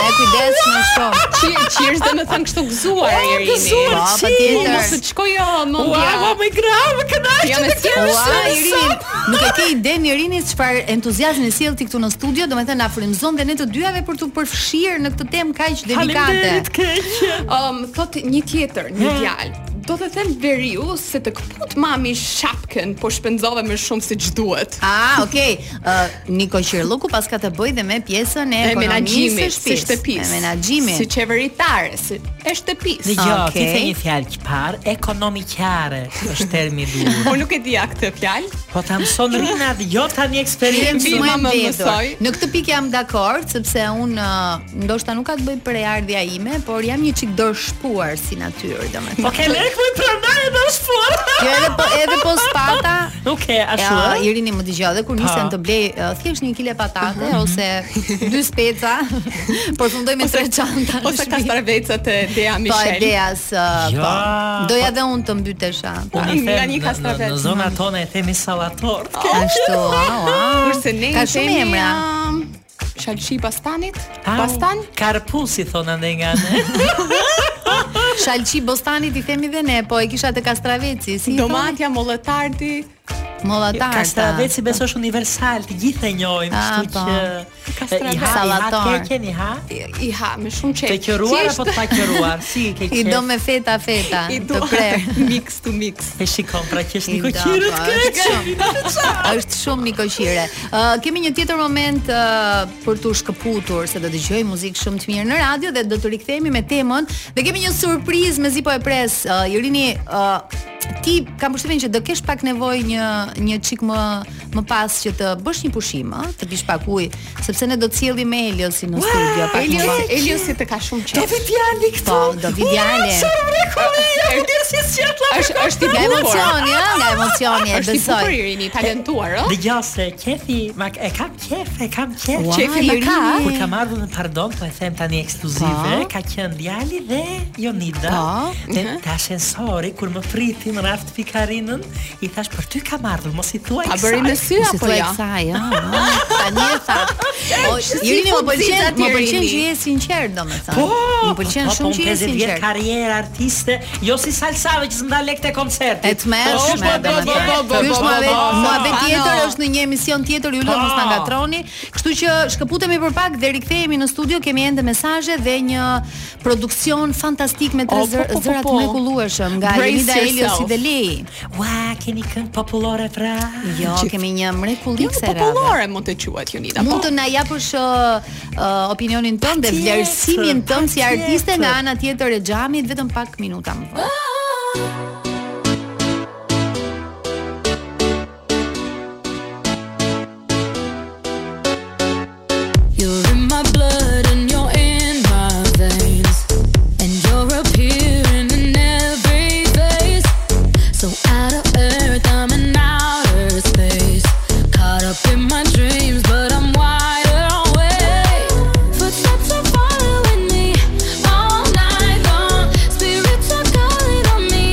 Speaker 7: E kujdesshme shumë.
Speaker 8: Che- Cheers do të thon kështu gëzuar Irini.
Speaker 9: gëzuar,
Speaker 7: Po,
Speaker 9: si?
Speaker 8: Po mos
Speaker 7: patjetër.
Speaker 8: të shkojo mendja.
Speaker 7: po
Speaker 9: Ua, më grave kënaqë.
Speaker 8: Jo me
Speaker 7: Ua,
Speaker 8: seriozisht.
Speaker 7: Irin, nuk e ke idenë Irini çfarë entuziazmi sjell ti këtu në studio, domethënë na frymëzon dhe ne të dyave për të përfshirë në këtë temë kaq
Speaker 9: Faleminderit
Speaker 7: delikate.
Speaker 9: keqe.
Speaker 8: Um, thot një tjetër, një
Speaker 7: Hmm.
Speaker 8: djalë. Do të them veriu se të këput mami shapkën, po shpenzove më shumë se ç'duhet.
Speaker 7: Ah, okay. Ë Niko Qirlluku paska të bëj dhe me pjesën e po,
Speaker 8: E
Speaker 7: ekonomisë
Speaker 8: menaxhimit,
Speaker 7: së
Speaker 8: si
Speaker 7: shtëpisë.
Speaker 8: shtëpisë.
Speaker 7: E menaxhimit.
Speaker 8: Si qeveritare, si e shtëpisë.
Speaker 9: Dëgjoj, ti
Speaker 7: Okej.
Speaker 9: the një fjalë që parë, ekonomikare, është termi i duhur.
Speaker 8: Po nuk e dija këtë fjalë.
Speaker 9: Po ta mëson Rina, dëgjoj tani
Speaker 7: Jam
Speaker 9: eksperiencë.
Speaker 8: Mbi
Speaker 7: shumë e
Speaker 8: mama
Speaker 7: mbledhur.
Speaker 8: mësoj.
Speaker 7: Në këtë pikë jam dakord sepse unë ë, ndoshta nuk ka të bëj për e ardhja ime, por jam një çik dorëshpuar si natyrë, domethënë.
Speaker 9: Po ke lek më pranare do shpuar.
Speaker 7: Kjo edhe po edhe po spata
Speaker 9: Nuk e ashtu.
Speaker 7: Ja,
Speaker 9: ë?
Speaker 7: Irini më dëgjoj dhe kur nisem të blej ë, thjesht një kile patate ose dy speca, përfundoj me tre çanta. në
Speaker 8: Mhm. Ose
Speaker 7: shtëpi.
Speaker 8: kastarvecat e Dea
Speaker 7: Po
Speaker 8: Michel.
Speaker 7: ideas ë,
Speaker 9: Ja,
Speaker 7: po. Doja
Speaker 9: po-
Speaker 7: dhe unë të mbytesha. po.
Speaker 9: Unë i
Speaker 8: nga
Speaker 9: them,
Speaker 8: një
Speaker 9: në- në,
Speaker 8: kastrafec.
Speaker 9: në zonat tona e themi sallator.
Speaker 7: Ashtu, oh, au, au.
Speaker 8: Kurse ne
Speaker 7: ka
Speaker 8: i
Speaker 7: shumë
Speaker 8: themi,
Speaker 7: emra.
Speaker 8: um, Shalqi pastanit?
Speaker 9: Au,
Speaker 8: Pastan?
Speaker 9: Karpusi thona ndaj nga ne.
Speaker 7: Shalçi Bostanit i themi dhe ne, po e kisha te Kastraveci, si i po. thonë?
Speaker 8: Domatja, molletardi.
Speaker 7: Mollatarta.
Speaker 9: Kastraveci besosh universal, të gjithë e njohim,
Speaker 7: A,
Speaker 9: kështu
Speaker 7: po.
Speaker 9: që e, i ha, i ha,
Speaker 7: Sallator.
Speaker 9: ke keni ha?
Speaker 8: I, i ha me shumë qejf.
Speaker 9: Të qëruar apo
Speaker 8: Thjesht-
Speaker 9: të pa qëruar? Si ke qef?
Speaker 7: I do me feta feta
Speaker 8: i
Speaker 7: të
Speaker 8: do
Speaker 7: prerë.
Speaker 8: mix to mix.
Speaker 9: E shikon pra qesh
Speaker 7: I
Speaker 9: një
Speaker 7: do,
Speaker 9: koqirët
Speaker 7: po,
Speaker 9: këtë.
Speaker 7: është shumë- Është shumë mikoqire. Ë kemi një tjetër moment ë, për tu shkëputur se do dëgjoj muzikë shumë të mirë në radio dhe do të rikthehemi me temën dhe kemi një surprizë mezi po e pres. Ë, Irini ë, ti kam përshtypjen që do kesh pak nevojë një një çik më më pas që të bësh një pushim, ë, të pish pak ujë, sepse ne do të sjellim me Eliosin në studio pak më
Speaker 8: Elios,
Speaker 7: vonë.
Speaker 8: Eliosi të ka shumë qejf.
Speaker 9: Vitjali këtu.
Speaker 7: Po, do vi djale.
Speaker 9: Mirësi sjatlla.
Speaker 8: Është është i
Speaker 7: Nga
Speaker 8: bukur.
Speaker 7: emocioni, ë, nga emocioni e
Speaker 8: Është i
Speaker 7: besoj.
Speaker 8: bukur Irini, talentuar, ë?
Speaker 9: Dëgjoj se kefi, ma e kam kef, e kam kef.
Speaker 7: Ua,
Speaker 8: Qefi më ka.
Speaker 7: Irini.
Speaker 9: Kur kam ardhur në pardon, po e them tani ekskluzive,
Speaker 7: Po.
Speaker 9: ka qenë djali dhe Jonida.
Speaker 7: Po.
Speaker 9: Dhe te ascensori kur më priti në raft fikarinën, i thash për ty kam ardhur, mos i thuaj.
Speaker 8: A
Speaker 9: kësaj."
Speaker 8: bëri me sy
Speaker 7: Si
Speaker 8: apo
Speaker 7: thua
Speaker 8: jo?
Speaker 7: kësaj, ja. Tani e tha. O,
Speaker 8: Si
Speaker 7: Irini më
Speaker 8: fund
Speaker 7: pëlqen,
Speaker 8: zizat,
Speaker 7: më pëlqen
Speaker 8: Irini.
Speaker 7: që je sinqer domethënë.
Speaker 9: Po,
Speaker 7: më pëlqen
Speaker 9: po, po,
Speaker 7: shumë
Speaker 9: unë
Speaker 7: që je
Speaker 9: 50 vjet
Speaker 7: sinqer.
Speaker 9: karrierë artiste, jo si salsave që s'nda lek te koncerti.
Speaker 7: E të mërshme,
Speaker 9: po, po, po, po,
Speaker 7: Ky është
Speaker 8: po,
Speaker 7: muhabet,
Speaker 8: po, po,
Speaker 7: muhabet
Speaker 8: po,
Speaker 7: tjetër,
Speaker 8: po.
Speaker 7: është në një emision tjetër, ju lë mos na
Speaker 9: Po.
Speaker 7: ngatroni. Kështu që shkëputemi për pak dhe rikthehemi në studio, kemi ende mesazhe dhe një produksion fantastik me tre
Speaker 8: O, po,
Speaker 7: zë-
Speaker 8: po, po,
Speaker 7: zëra të
Speaker 8: po.
Speaker 7: mrekullueshëm nga
Speaker 8: Brace
Speaker 7: Elida Eliosi
Speaker 8: yourself.
Speaker 7: dhe Lei.
Speaker 9: Ua, keni këngë popullore pra.
Speaker 7: Jo, kemi një mrekulli
Speaker 8: Jo,
Speaker 7: kësaj radhe.
Speaker 8: popullore mund të quhet Jonida.
Speaker 7: mund të na japësh ë, ë, opinionin tënd dhe
Speaker 9: Patjetër,
Speaker 7: vlerësimin tënd si artiste
Speaker 9: patjetër.
Speaker 7: nga ana tjetër e xhamit vetëm pak minuta më vonë.
Speaker 4: You're in my blood and you're in my veins. And you're appearing in every face. So out of earth, I'm in outer space. Caught up in my dreams, but I'm wider awake. Footsteps are following me all night long. Spirits are calling on me.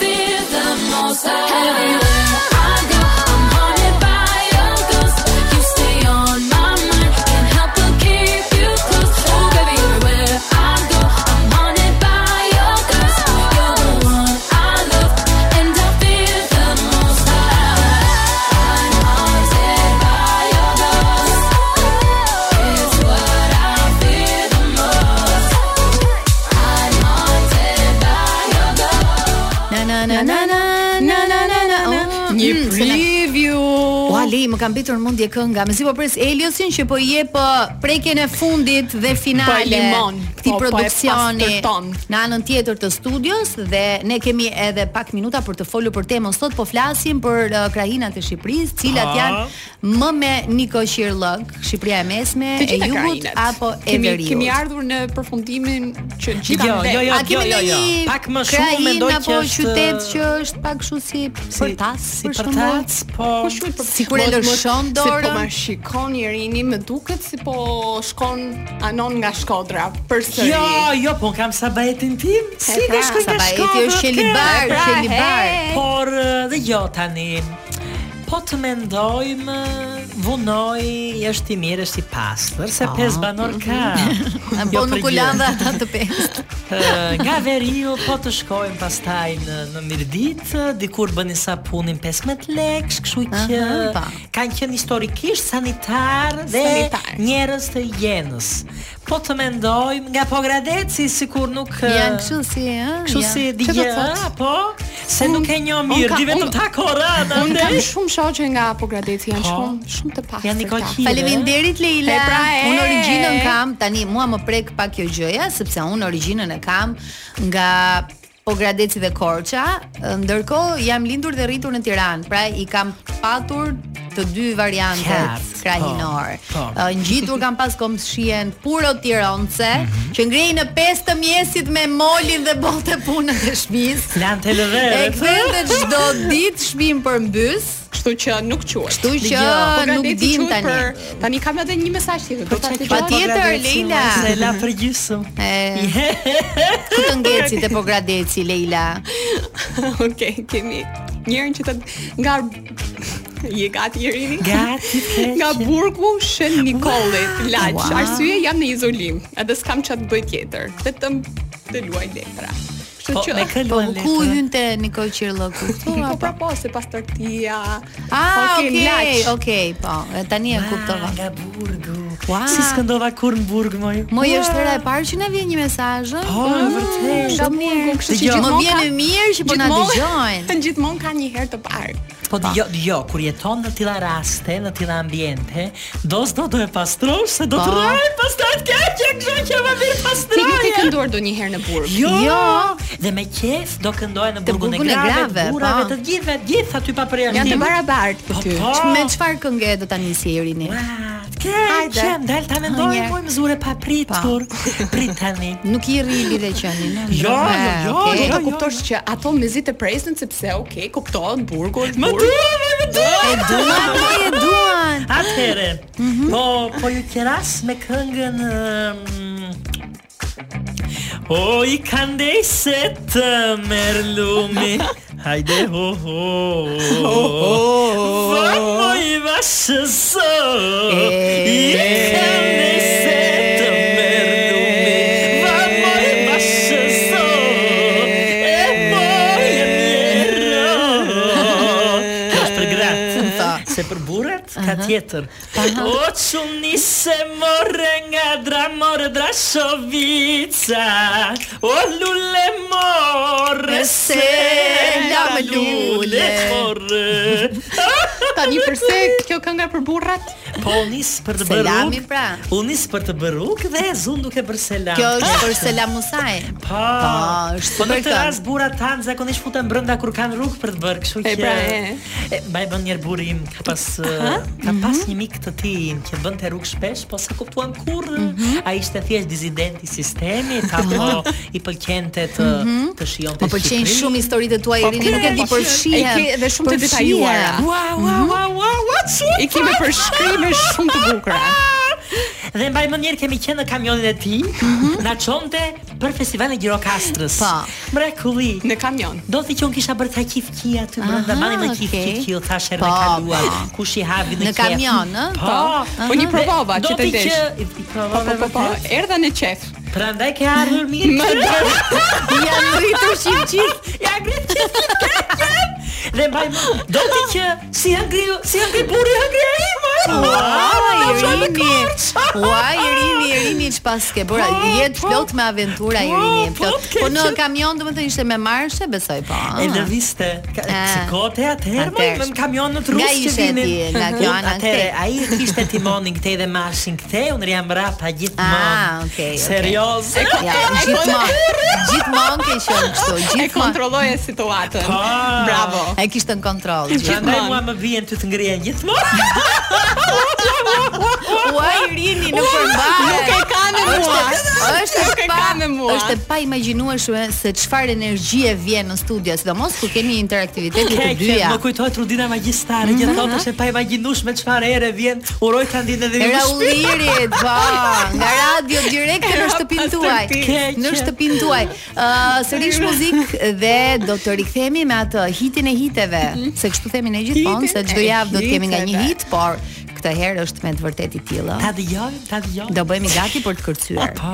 Speaker 4: almost everywhere I go. I'm haunted by your ghost. You stay on my mind. Can't help but keep you close. Oh, baby, everywhere I go, I'm haunted by your ghost. You're the one I love, and I feel the most. I'm haunted by your ghost. It's what I feel the most. I'm haunted by your ghost.
Speaker 7: Na na na na na na na na na. Oh,
Speaker 8: Një
Speaker 7: mm, se na-
Speaker 8: preview.
Speaker 7: O Po, Ali, më ka mbitur në mendje kënga, mezi po pres Eliosin që po i jep ë, prekjen e fundit dhe finale
Speaker 8: Po e limon,
Speaker 7: këtij
Speaker 8: po- po e
Speaker 7: produksioni
Speaker 8: pastërton.
Speaker 7: në anën tjetër të studios dhe ne kemi edhe pak minuta për të folur për temën sot, po flasim për uh, krahinat e Shqipërisë, cilat
Speaker 9: Ha.
Speaker 7: janë më me Niko Qirllëk, Shqipëria e mesme,
Speaker 8: Të
Speaker 7: e
Speaker 8: gjitha
Speaker 7: jugut
Speaker 8: krahinat.
Speaker 7: apo e
Speaker 8: Kemi-
Speaker 7: veriut.
Speaker 8: Kemi ardhur në përfundimin që gjitha
Speaker 9: Jo, jo, jo,
Speaker 7: A kemi
Speaker 9: jo, jo.
Speaker 7: ndonjë
Speaker 9: Pak më shumë
Speaker 7: krahin
Speaker 9: mendoj që
Speaker 7: apo
Speaker 9: është-
Speaker 7: qytet që është pak kështu si përtas,
Speaker 9: si
Speaker 7: për
Speaker 9: për
Speaker 7: shembull?
Speaker 9: tac, po.
Speaker 8: Po shumë për
Speaker 7: Si kur e
Speaker 8: mos- mos-
Speaker 7: lëshon
Speaker 8: Se po
Speaker 7: dorën?
Speaker 8: ma shikon Jerini, më duket si po shkon anon nga Shkodra përsëri.
Speaker 9: Jo, jo, po unë kam sabahetin tim. Si
Speaker 7: pra,
Speaker 9: do shkoj nga
Speaker 7: sabaheti
Speaker 9: shkolla?
Speaker 7: është qelibar,
Speaker 9: kë? E pra,
Speaker 7: qelibar.
Speaker 9: he. Por eh, dhe jo tani. Po të mendojmë, vunoj, është i mirë, është i pastër, se pesë banor ka.
Speaker 7: Po
Speaker 9: Jo
Speaker 7: nuk
Speaker 9: për
Speaker 7: u
Speaker 9: gjë.
Speaker 7: lan dhe ata të pesë.
Speaker 9: Eh, Nga veriu po të shkojmë pastaj në në Mirdit, eh, dikur bëni sapunin 15 lekë, kështu që
Speaker 7: Aha, po. pa.
Speaker 9: kanë qenë historikisht sanitar dhe
Speaker 8: Sanitar.
Speaker 9: njerëz të jenës. Po të mendojmë nga Pogradeci sikur nuk eh,
Speaker 7: Janë kështu si, ëh.
Speaker 9: Kështu
Speaker 7: janë.
Speaker 9: si di
Speaker 8: Çfarë do
Speaker 9: gjë,
Speaker 8: thotë?
Speaker 9: po se
Speaker 8: Unë-
Speaker 9: nuk e njoh
Speaker 8: unë
Speaker 9: mirë,
Speaker 8: ka-
Speaker 9: di vetëm
Speaker 8: unë-
Speaker 9: ta korana.
Speaker 8: Unë kam
Speaker 7: jo.
Speaker 9: ne?
Speaker 8: shumë shoqe nga Pogradeci, janë
Speaker 9: Po.
Speaker 8: shumë shumë të pastërta.
Speaker 9: Janë Nikoqi.
Speaker 7: Faleminderit Leila.
Speaker 8: E pra, e.
Speaker 7: Unë origjinën kam, tani mua më prek pak kjo gjëja sepse unë origjinën e kam nga Pogradeci dhe Korça, ndërkohë jam lindur dhe rritur në Tiranë, pra i kam patur të dy variantet
Speaker 9: Qartë,
Speaker 7: krahinor.
Speaker 9: po, po.
Speaker 7: Ë, Ngjitur kam pas komshien puro tironce, që ngrihej në 5 të mjesit me molin dhe bote punën e shtëpisë.
Speaker 9: Lan të lëvë.
Speaker 7: E kthente çdo ditë shpim për mbys,
Speaker 8: Kështu që nuk quhet.
Speaker 7: kështu që nuk
Speaker 8: Pogradeci
Speaker 7: dim
Speaker 8: quhet
Speaker 7: tani.
Speaker 8: Po,
Speaker 7: Po
Speaker 8: për- tani kam edhe një mesazh tjetër. Do ta
Speaker 9: çfarë
Speaker 8: dëgjoj.
Speaker 7: quhet? Patjetër, Leila.
Speaker 9: Se la për gjysmë.
Speaker 7: E, ku të ngeci te Pogradeci Leila?
Speaker 8: Okej, kemi njërin që të nga je gati Jerini.
Speaker 9: Gati te.
Speaker 8: Nga burgu Shën Nikollit, Laç.
Speaker 7: Wow.
Speaker 8: Arsye jam në izolim, edhe s'kam çfarë të bëj tjetër, vetëm të luaj letra. Kështu
Speaker 9: Po
Speaker 8: që
Speaker 9: me
Speaker 7: Po
Speaker 9: këlluan
Speaker 7: ku
Speaker 9: letra.
Speaker 7: hynte Nikol Qirllëku? Këtu
Speaker 8: Po
Speaker 7: apo?
Speaker 8: pra po, se pas tërtia
Speaker 7: Ah,
Speaker 8: Okej,
Speaker 7: okay,
Speaker 8: laq.
Speaker 7: okay, po. e Tani e kuptova.
Speaker 9: Nga burgu.
Speaker 7: Ua.
Speaker 9: Si skëndova kur në burg moj.
Speaker 7: Moj
Speaker 9: Ua.
Speaker 7: është hera e Mm, parë që na vjen një mesazh. ë?
Speaker 9: Po, e vërtet.
Speaker 7: Nga
Speaker 8: Shumë
Speaker 7: mirë.
Speaker 8: mirë, kështu që
Speaker 7: Dëgjoj, më
Speaker 8: gjithmonë
Speaker 7: vjen
Speaker 8: ka-
Speaker 7: e mirë që po na dëgjojnë.
Speaker 8: Gjithmonë ka një herë të parë.
Speaker 9: Po jo, jo, kur jeton në tilla raste, në tilla ambiente, do s'do do e pastrosh, se do të
Speaker 7: Po.
Speaker 9: rroj, pastaj të keqe, kështu që më mirë
Speaker 8: Ti nuk e
Speaker 9: pastroje.
Speaker 8: kënduar ndonjëherë në burg.
Speaker 9: Jo,
Speaker 7: Jo.
Speaker 9: dhe me qef do këndoj në
Speaker 7: Të
Speaker 9: burgun e
Speaker 7: burgun e
Speaker 9: grave,
Speaker 7: grave,
Speaker 9: të burrave,
Speaker 7: po.
Speaker 9: të gjithëve, gjithë aty pa përjashtim.
Speaker 8: Janë të barabartë për ty.
Speaker 9: Po,
Speaker 7: Me çfarë këngë do ta nisi Erini?
Speaker 9: Ke,
Speaker 7: Hajde.
Speaker 9: që ndal ta mendoj
Speaker 7: Një.
Speaker 9: po më zure pa pritur. Prit tani.
Speaker 7: Nuk i rri lirë qenin. ë?
Speaker 9: Jo,
Speaker 7: E, okay.
Speaker 9: jo, jo,
Speaker 8: Do
Speaker 9: jo.
Speaker 8: të kuptosh që ato mezi të presin sepse okay, kuptohet burgu,
Speaker 9: Më
Speaker 8: burgu.
Speaker 9: duam, më duam.
Speaker 7: E duan, po e duan. Mhm.
Speaker 9: Atëherë, po po ju qeras me këngën ëm, O i kandej se të merë lumi Hajde ho ho ho Vamo i vashë so
Speaker 7: E,
Speaker 9: I kandej se të merë lumi Vamo i vashë so E mojë mjero Kjo është për gratë Se për burrat ka tjetër O qëni se more nga Oh, dra more drashovica O lule more se la
Speaker 7: la lule.
Speaker 9: lule more Oh,
Speaker 8: Tani përse kjo kënga për burrat?
Speaker 9: Po u nis për të bërë
Speaker 7: Selami
Speaker 9: rrugë
Speaker 7: pra.
Speaker 9: U nis për të bërë rrugë dhe e zun duke bërë selam
Speaker 7: Kjo është për Selam Musaj.
Speaker 9: Pa,
Speaker 7: Pa, është
Speaker 9: po në
Speaker 7: super
Speaker 9: këtë
Speaker 7: këngë.
Speaker 9: rast burrat tanë zakonisht futen brenda kur kanë rrugë për të bërë, kështu që
Speaker 8: E, pra, e.
Speaker 9: e mbaj bën një burri im ka pas ka pas
Speaker 8: Mhm.
Speaker 9: një mik të tij im që bënte rrugë shpesh, po sa kuptuan kurrë.
Speaker 8: Mhm.
Speaker 9: Ai ishte thjesht dizident i sistemit, apo i pëlqente të
Speaker 8: Mhm.
Speaker 9: të shijonte
Speaker 7: Më Po pëlqejnë
Speaker 9: Shqipërinë.
Speaker 7: shumë historitë tua Irini, nuk e di përfshihen.
Speaker 8: Po E ke edhe shumë të
Speaker 7: Përfshihen.
Speaker 8: detajuara.
Speaker 9: Wow, wow, wow, wow, wow,
Speaker 8: I kemi përshkrime shumë të bukura.
Speaker 9: Dhe mbaj më njerë kemi qenë në kamionin e tij,
Speaker 8: Mhm.
Speaker 9: na çonte për festivalin e Gjirokastrës.
Speaker 7: Pa.
Speaker 9: Mrekulli.
Speaker 8: Në kamion.
Speaker 9: Do të që unë kisha bërë ta qif kia aty brenda,
Speaker 7: Aha,
Speaker 9: mani me qif
Speaker 7: okay.
Speaker 9: okay. kia, thash herë
Speaker 7: Po,
Speaker 9: me kalua,
Speaker 7: po.
Speaker 9: kush i hapi në
Speaker 7: Në kamion, ë?
Speaker 9: Po.
Speaker 8: Po, po një provova që të
Speaker 9: desh.
Speaker 8: ndesh.
Speaker 9: Do ti që i
Speaker 8: Po, po,
Speaker 9: provova
Speaker 8: po, po,
Speaker 9: vërtet.
Speaker 8: erdha në qef.
Speaker 9: Prandaj ke ardhur mirë.
Speaker 8: Më dorë.
Speaker 7: Ja ngritur shqipçik.
Speaker 9: Ja grit që ti ke qenë. Dhe mbaj më Do ti që si hëngri Si hëngri buri hëngri e ima
Speaker 7: Ua, Irini. Ua, Irini, Irini çfarë ke bëra?
Speaker 9: Po,
Speaker 7: Jetë
Speaker 9: po.
Speaker 7: plot me aventura
Speaker 9: Po,
Speaker 7: Irini,
Speaker 9: po,
Speaker 7: plot.
Speaker 9: ke
Speaker 7: Po në
Speaker 9: qenë-
Speaker 7: kamion domethënë ishte me marshe, besoj po. a?
Speaker 9: E lëviste Ka-
Speaker 7: Ah.
Speaker 9: Si kote atëherë Më
Speaker 7: Atëherë.
Speaker 9: më në kamion në trus
Speaker 7: Nga
Speaker 9: që
Speaker 7: ishe
Speaker 9: vinin
Speaker 7: ti, nga kjo ana
Speaker 9: Atëherë
Speaker 7: këtej.
Speaker 9: ai kishte timonin këtej dhe marshin këtej Unë rjam mbrapa gjithmonë
Speaker 7: Ah, okej, okej.
Speaker 9: Serioz
Speaker 7: Ja, gjithmonë. Gjithmonë ke qenë kështu,
Speaker 8: E
Speaker 7: gjithmonë.
Speaker 8: kontrolloje situatën.
Speaker 9: Po.
Speaker 8: Bravo.
Speaker 7: Ai kishte në kontroll. gjithmonë.
Speaker 9: Prandaj
Speaker 8: gjithmonë.
Speaker 9: mua më vjen ty të ngrihen gjithmonë
Speaker 7: Ua, Irini në përmbaj.
Speaker 8: Nuk e ka në mua.
Speaker 7: Është
Speaker 8: Nuk e
Speaker 7: pa,
Speaker 8: ka me mua.
Speaker 7: Është e pa imagjinueshme se çfarë energjie vjen në studio, sidomos kur keni interaktivitet të
Speaker 9: Keke,
Speaker 7: dyja.
Speaker 9: më kujtohet Rudina Magjistare Që thotë është e pa imagjinueshme çfarë ere vjen Uroj kandinë edhe ju
Speaker 7: Raul Lirit, po, nga radio direkt në shtëpinë tuaj.
Speaker 9: Keq.
Speaker 7: Në shtëpinë tuaj. Ë, sërish muzikë dhe do të rikthehemi me atë hitin e hiteve, se kështu themi ne gjithmonë se
Speaker 8: Hitin
Speaker 7: çdo
Speaker 8: e
Speaker 7: javë do të kemi nga një
Speaker 8: hiteve.
Speaker 7: hit, por këtë herë është me të vërtetë i tilla.
Speaker 9: Ta dëgjoj, ta dëgjoj
Speaker 7: Do bëhemi gati për të kërcyer.
Speaker 9: Po.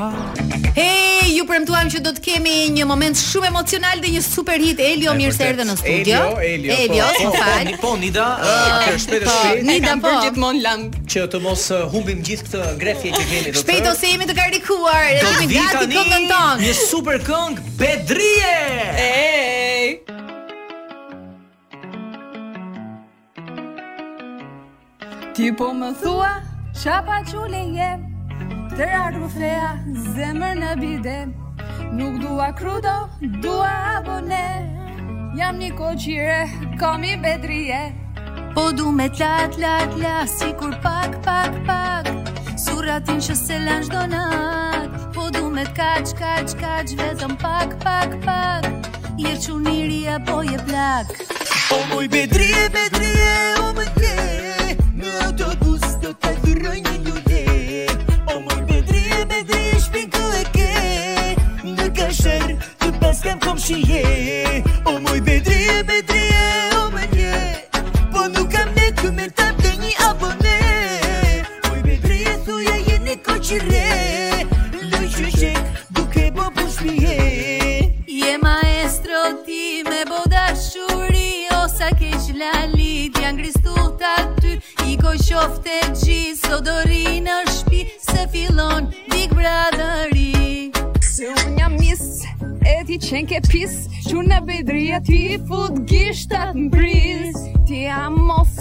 Speaker 7: Hey, ju premtuam që do të kemi një moment shumë emocional dhe një super hit. Elio mirë se erdhe në studio.
Speaker 10: Elio, Elio.
Speaker 7: Elio,
Speaker 10: po,
Speaker 7: s'u
Speaker 10: po,
Speaker 7: fal.
Speaker 10: po, Nida, ë, shpejt e
Speaker 7: po,
Speaker 10: shpejt
Speaker 7: Nida,
Speaker 8: E kam
Speaker 7: po.
Speaker 8: bërë gjithmonë lam.
Speaker 10: që të mos ë, humbim gjithë këtë grefje që keni do të.
Speaker 7: Shpejt ose jemi të karikuar, e
Speaker 10: Do të
Speaker 7: kemi
Speaker 10: vi
Speaker 7: gati
Speaker 10: tani
Speaker 7: këngën tonë.
Speaker 10: Një super këngë Bedrije.
Speaker 8: Ej.
Speaker 11: Ti po më thua Qapa qule jem Të rarë ruflea Zemër në bidem Nuk dua krudo Dua abone Jam një koqire Kam i bedrije Po du me tlat, tlat, tlat Si kur pak, pak, pak Suratin që se lan shdo nat Po du me t'kaç, kaç, kaç Vetëm pak, pak, pak Je quniri apo je plak
Speaker 10: O moj Bedrije, Bedrije, o më ke Në autobus do të duroj një lule O moj Bedrije, Bedrije, shpiko e ke Në kasher të pas kam kom shije O moj Bedrije, Bedrije, o më ke Po nuk kam ne të me tap dhe një abone Moj Bedrije, thuja jeni koqire Loj që shek duke bo për shpije
Speaker 11: Je maestro ti me bo dashuri O sa keq lalit janë gristu të aty I ko qofte gji sodori në shpi Se fillon Big Brotheri
Speaker 8: Se unë jam mis E ti qenë ke pis Që në bedrija ti i fut gishtat në bris Ti jam mos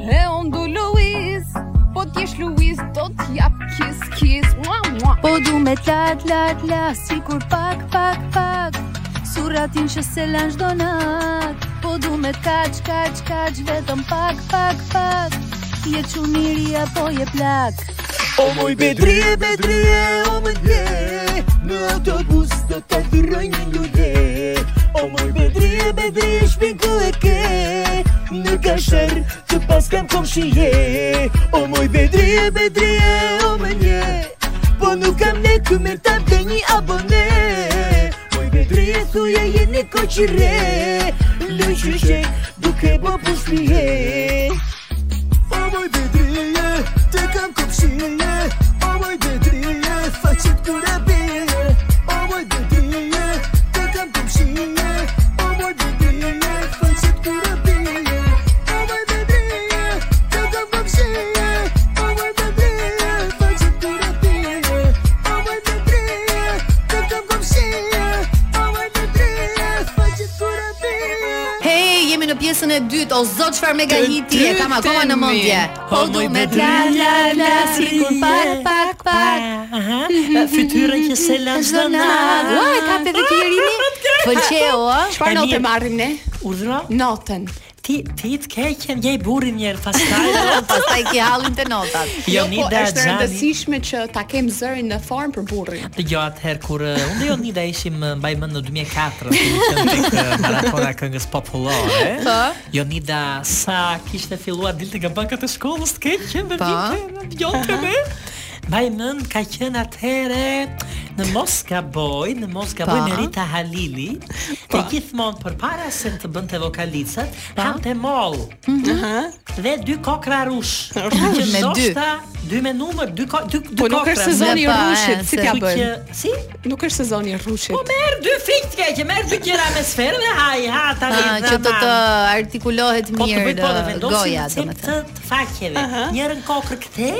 Speaker 8: E unë du Luis Po t'jesh Luis Do t'jap kis kis Mua mua
Speaker 11: Po du me tlat, tlat, tlat Si kur pak, pak, pak Suratin që se lan shdo nat Po du me t'kaç, kaç, kaç Vetëm pak, pak, pak Je qumiri apo je plak
Speaker 10: O moj bedrije, bedrije, o më dje Në autobus do të dyroj një lule O moj bedrije, bedrije, shpiko e ke Në kasher të pas kam kom shije O moj bedrije, bedrije, o më dje Po nuk kam ne të me tap dhe një abone Moj bedrije, thuja jeni koqire Lëj që shek duke bo për shpije O moj bedrije, te kam kopshije O moj bedrije, faqet kura bije O moj bedrije, te kam kopshije O moj bedrije, faqet kura bije O moj bedrije, te kam kopshije O moj bedrije, faqet kura bije O moj bedrije, te kam kopshije O moj bedrije, faqet kura bije
Speaker 7: Hey, jemi në pjesën e dytë. O zot, çfarë mega
Speaker 8: Të
Speaker 7: hiti e kam akoma në
Speaker 8: dytën
Speaker 7: mendje.
Speaker 8: mirë.
Speaker 7: Po du me la la la sikur pak pak pak.
Speaker 9: Aha,
Speaker 7: Mhm.
Speaker 9: fytyra që se lan çdo natë.
Speaker 7: Ua, e kape dhe Irini. Pëlqeu, ë?
Speaker 8: Qfar
Speaker 9: E
Speaker 8: note
Speaker 9: mirë.
Speaker 8: marrim ne?
Speaker 9: Urdhro,
Speaker 8: Notën
Speaker 9: ti ti të keqen, gjej burrin një herë pastaj.
Speaker 7: Pastaj ki hallin te notat.
Speaker 9: Jo,
Speaker 8: po
Speaker 9: Nida,
Speaker 8: është e
Speaker 9: Xhani.
Speaker 8: rëndësishme që ta kem zërin në formë për burrin
Speaker 9: Dëgjoj atëherë kur eh, unë dhe Jonida ishim eh, mbaj mend në 2004 kur ishim tek eh, maratona këngës popullore. Po. Jonida sa kishte filluar dilte nga bankat e shkollës të keq që më
Speaker 7: Po.
Speaker 9: vinte, dëgjonte me. Mbaj mend ka qenë atëherë në Moska Boy, në Moska
Speaker 7: Pa.
Speaker 9: Boy me Rita Halili, të gjithmonë përpara se të bënte vokalicat, hante moll. Dhe dy kokra rush. Që
Speaker 12: me dy.
Speaker 9: ndoshta dy me numër, dy ko, dy, dy
Speaker 12: Po nuk
Speaker 9: kokra.
Speaker 12: është sezoni i
Speaker 9: Pa,
Speaker 12: rrushit, si
Speaker 9: se-
Speaker 12: t'ja
Speaker 9: Kështu
Speaker 12: bëjmë?
Speaker 9: që- Si?
Speaker 12: Nuk është sezoni i rrushit.
Speaker 9: Po merr dy fikë që merr dy gjëra me sferë dhe haj, ha tani.
Speaker 7: Ah,
Speaker 9: dhe
Speaker 7: që të të
Speaker 9: aman.
Speaker 7: artikulohet
Speaker 9: Po të
Speaker 7: mirë
Speaker 9: bëj po dhe
Speaker 7: ë,
Speaker 9: vendosin
Speaker 7: goja,
Speaker 9: recept
Speaker 7: domethënë.
Speaker 9: të të faqeve. Njërën kokër këtej,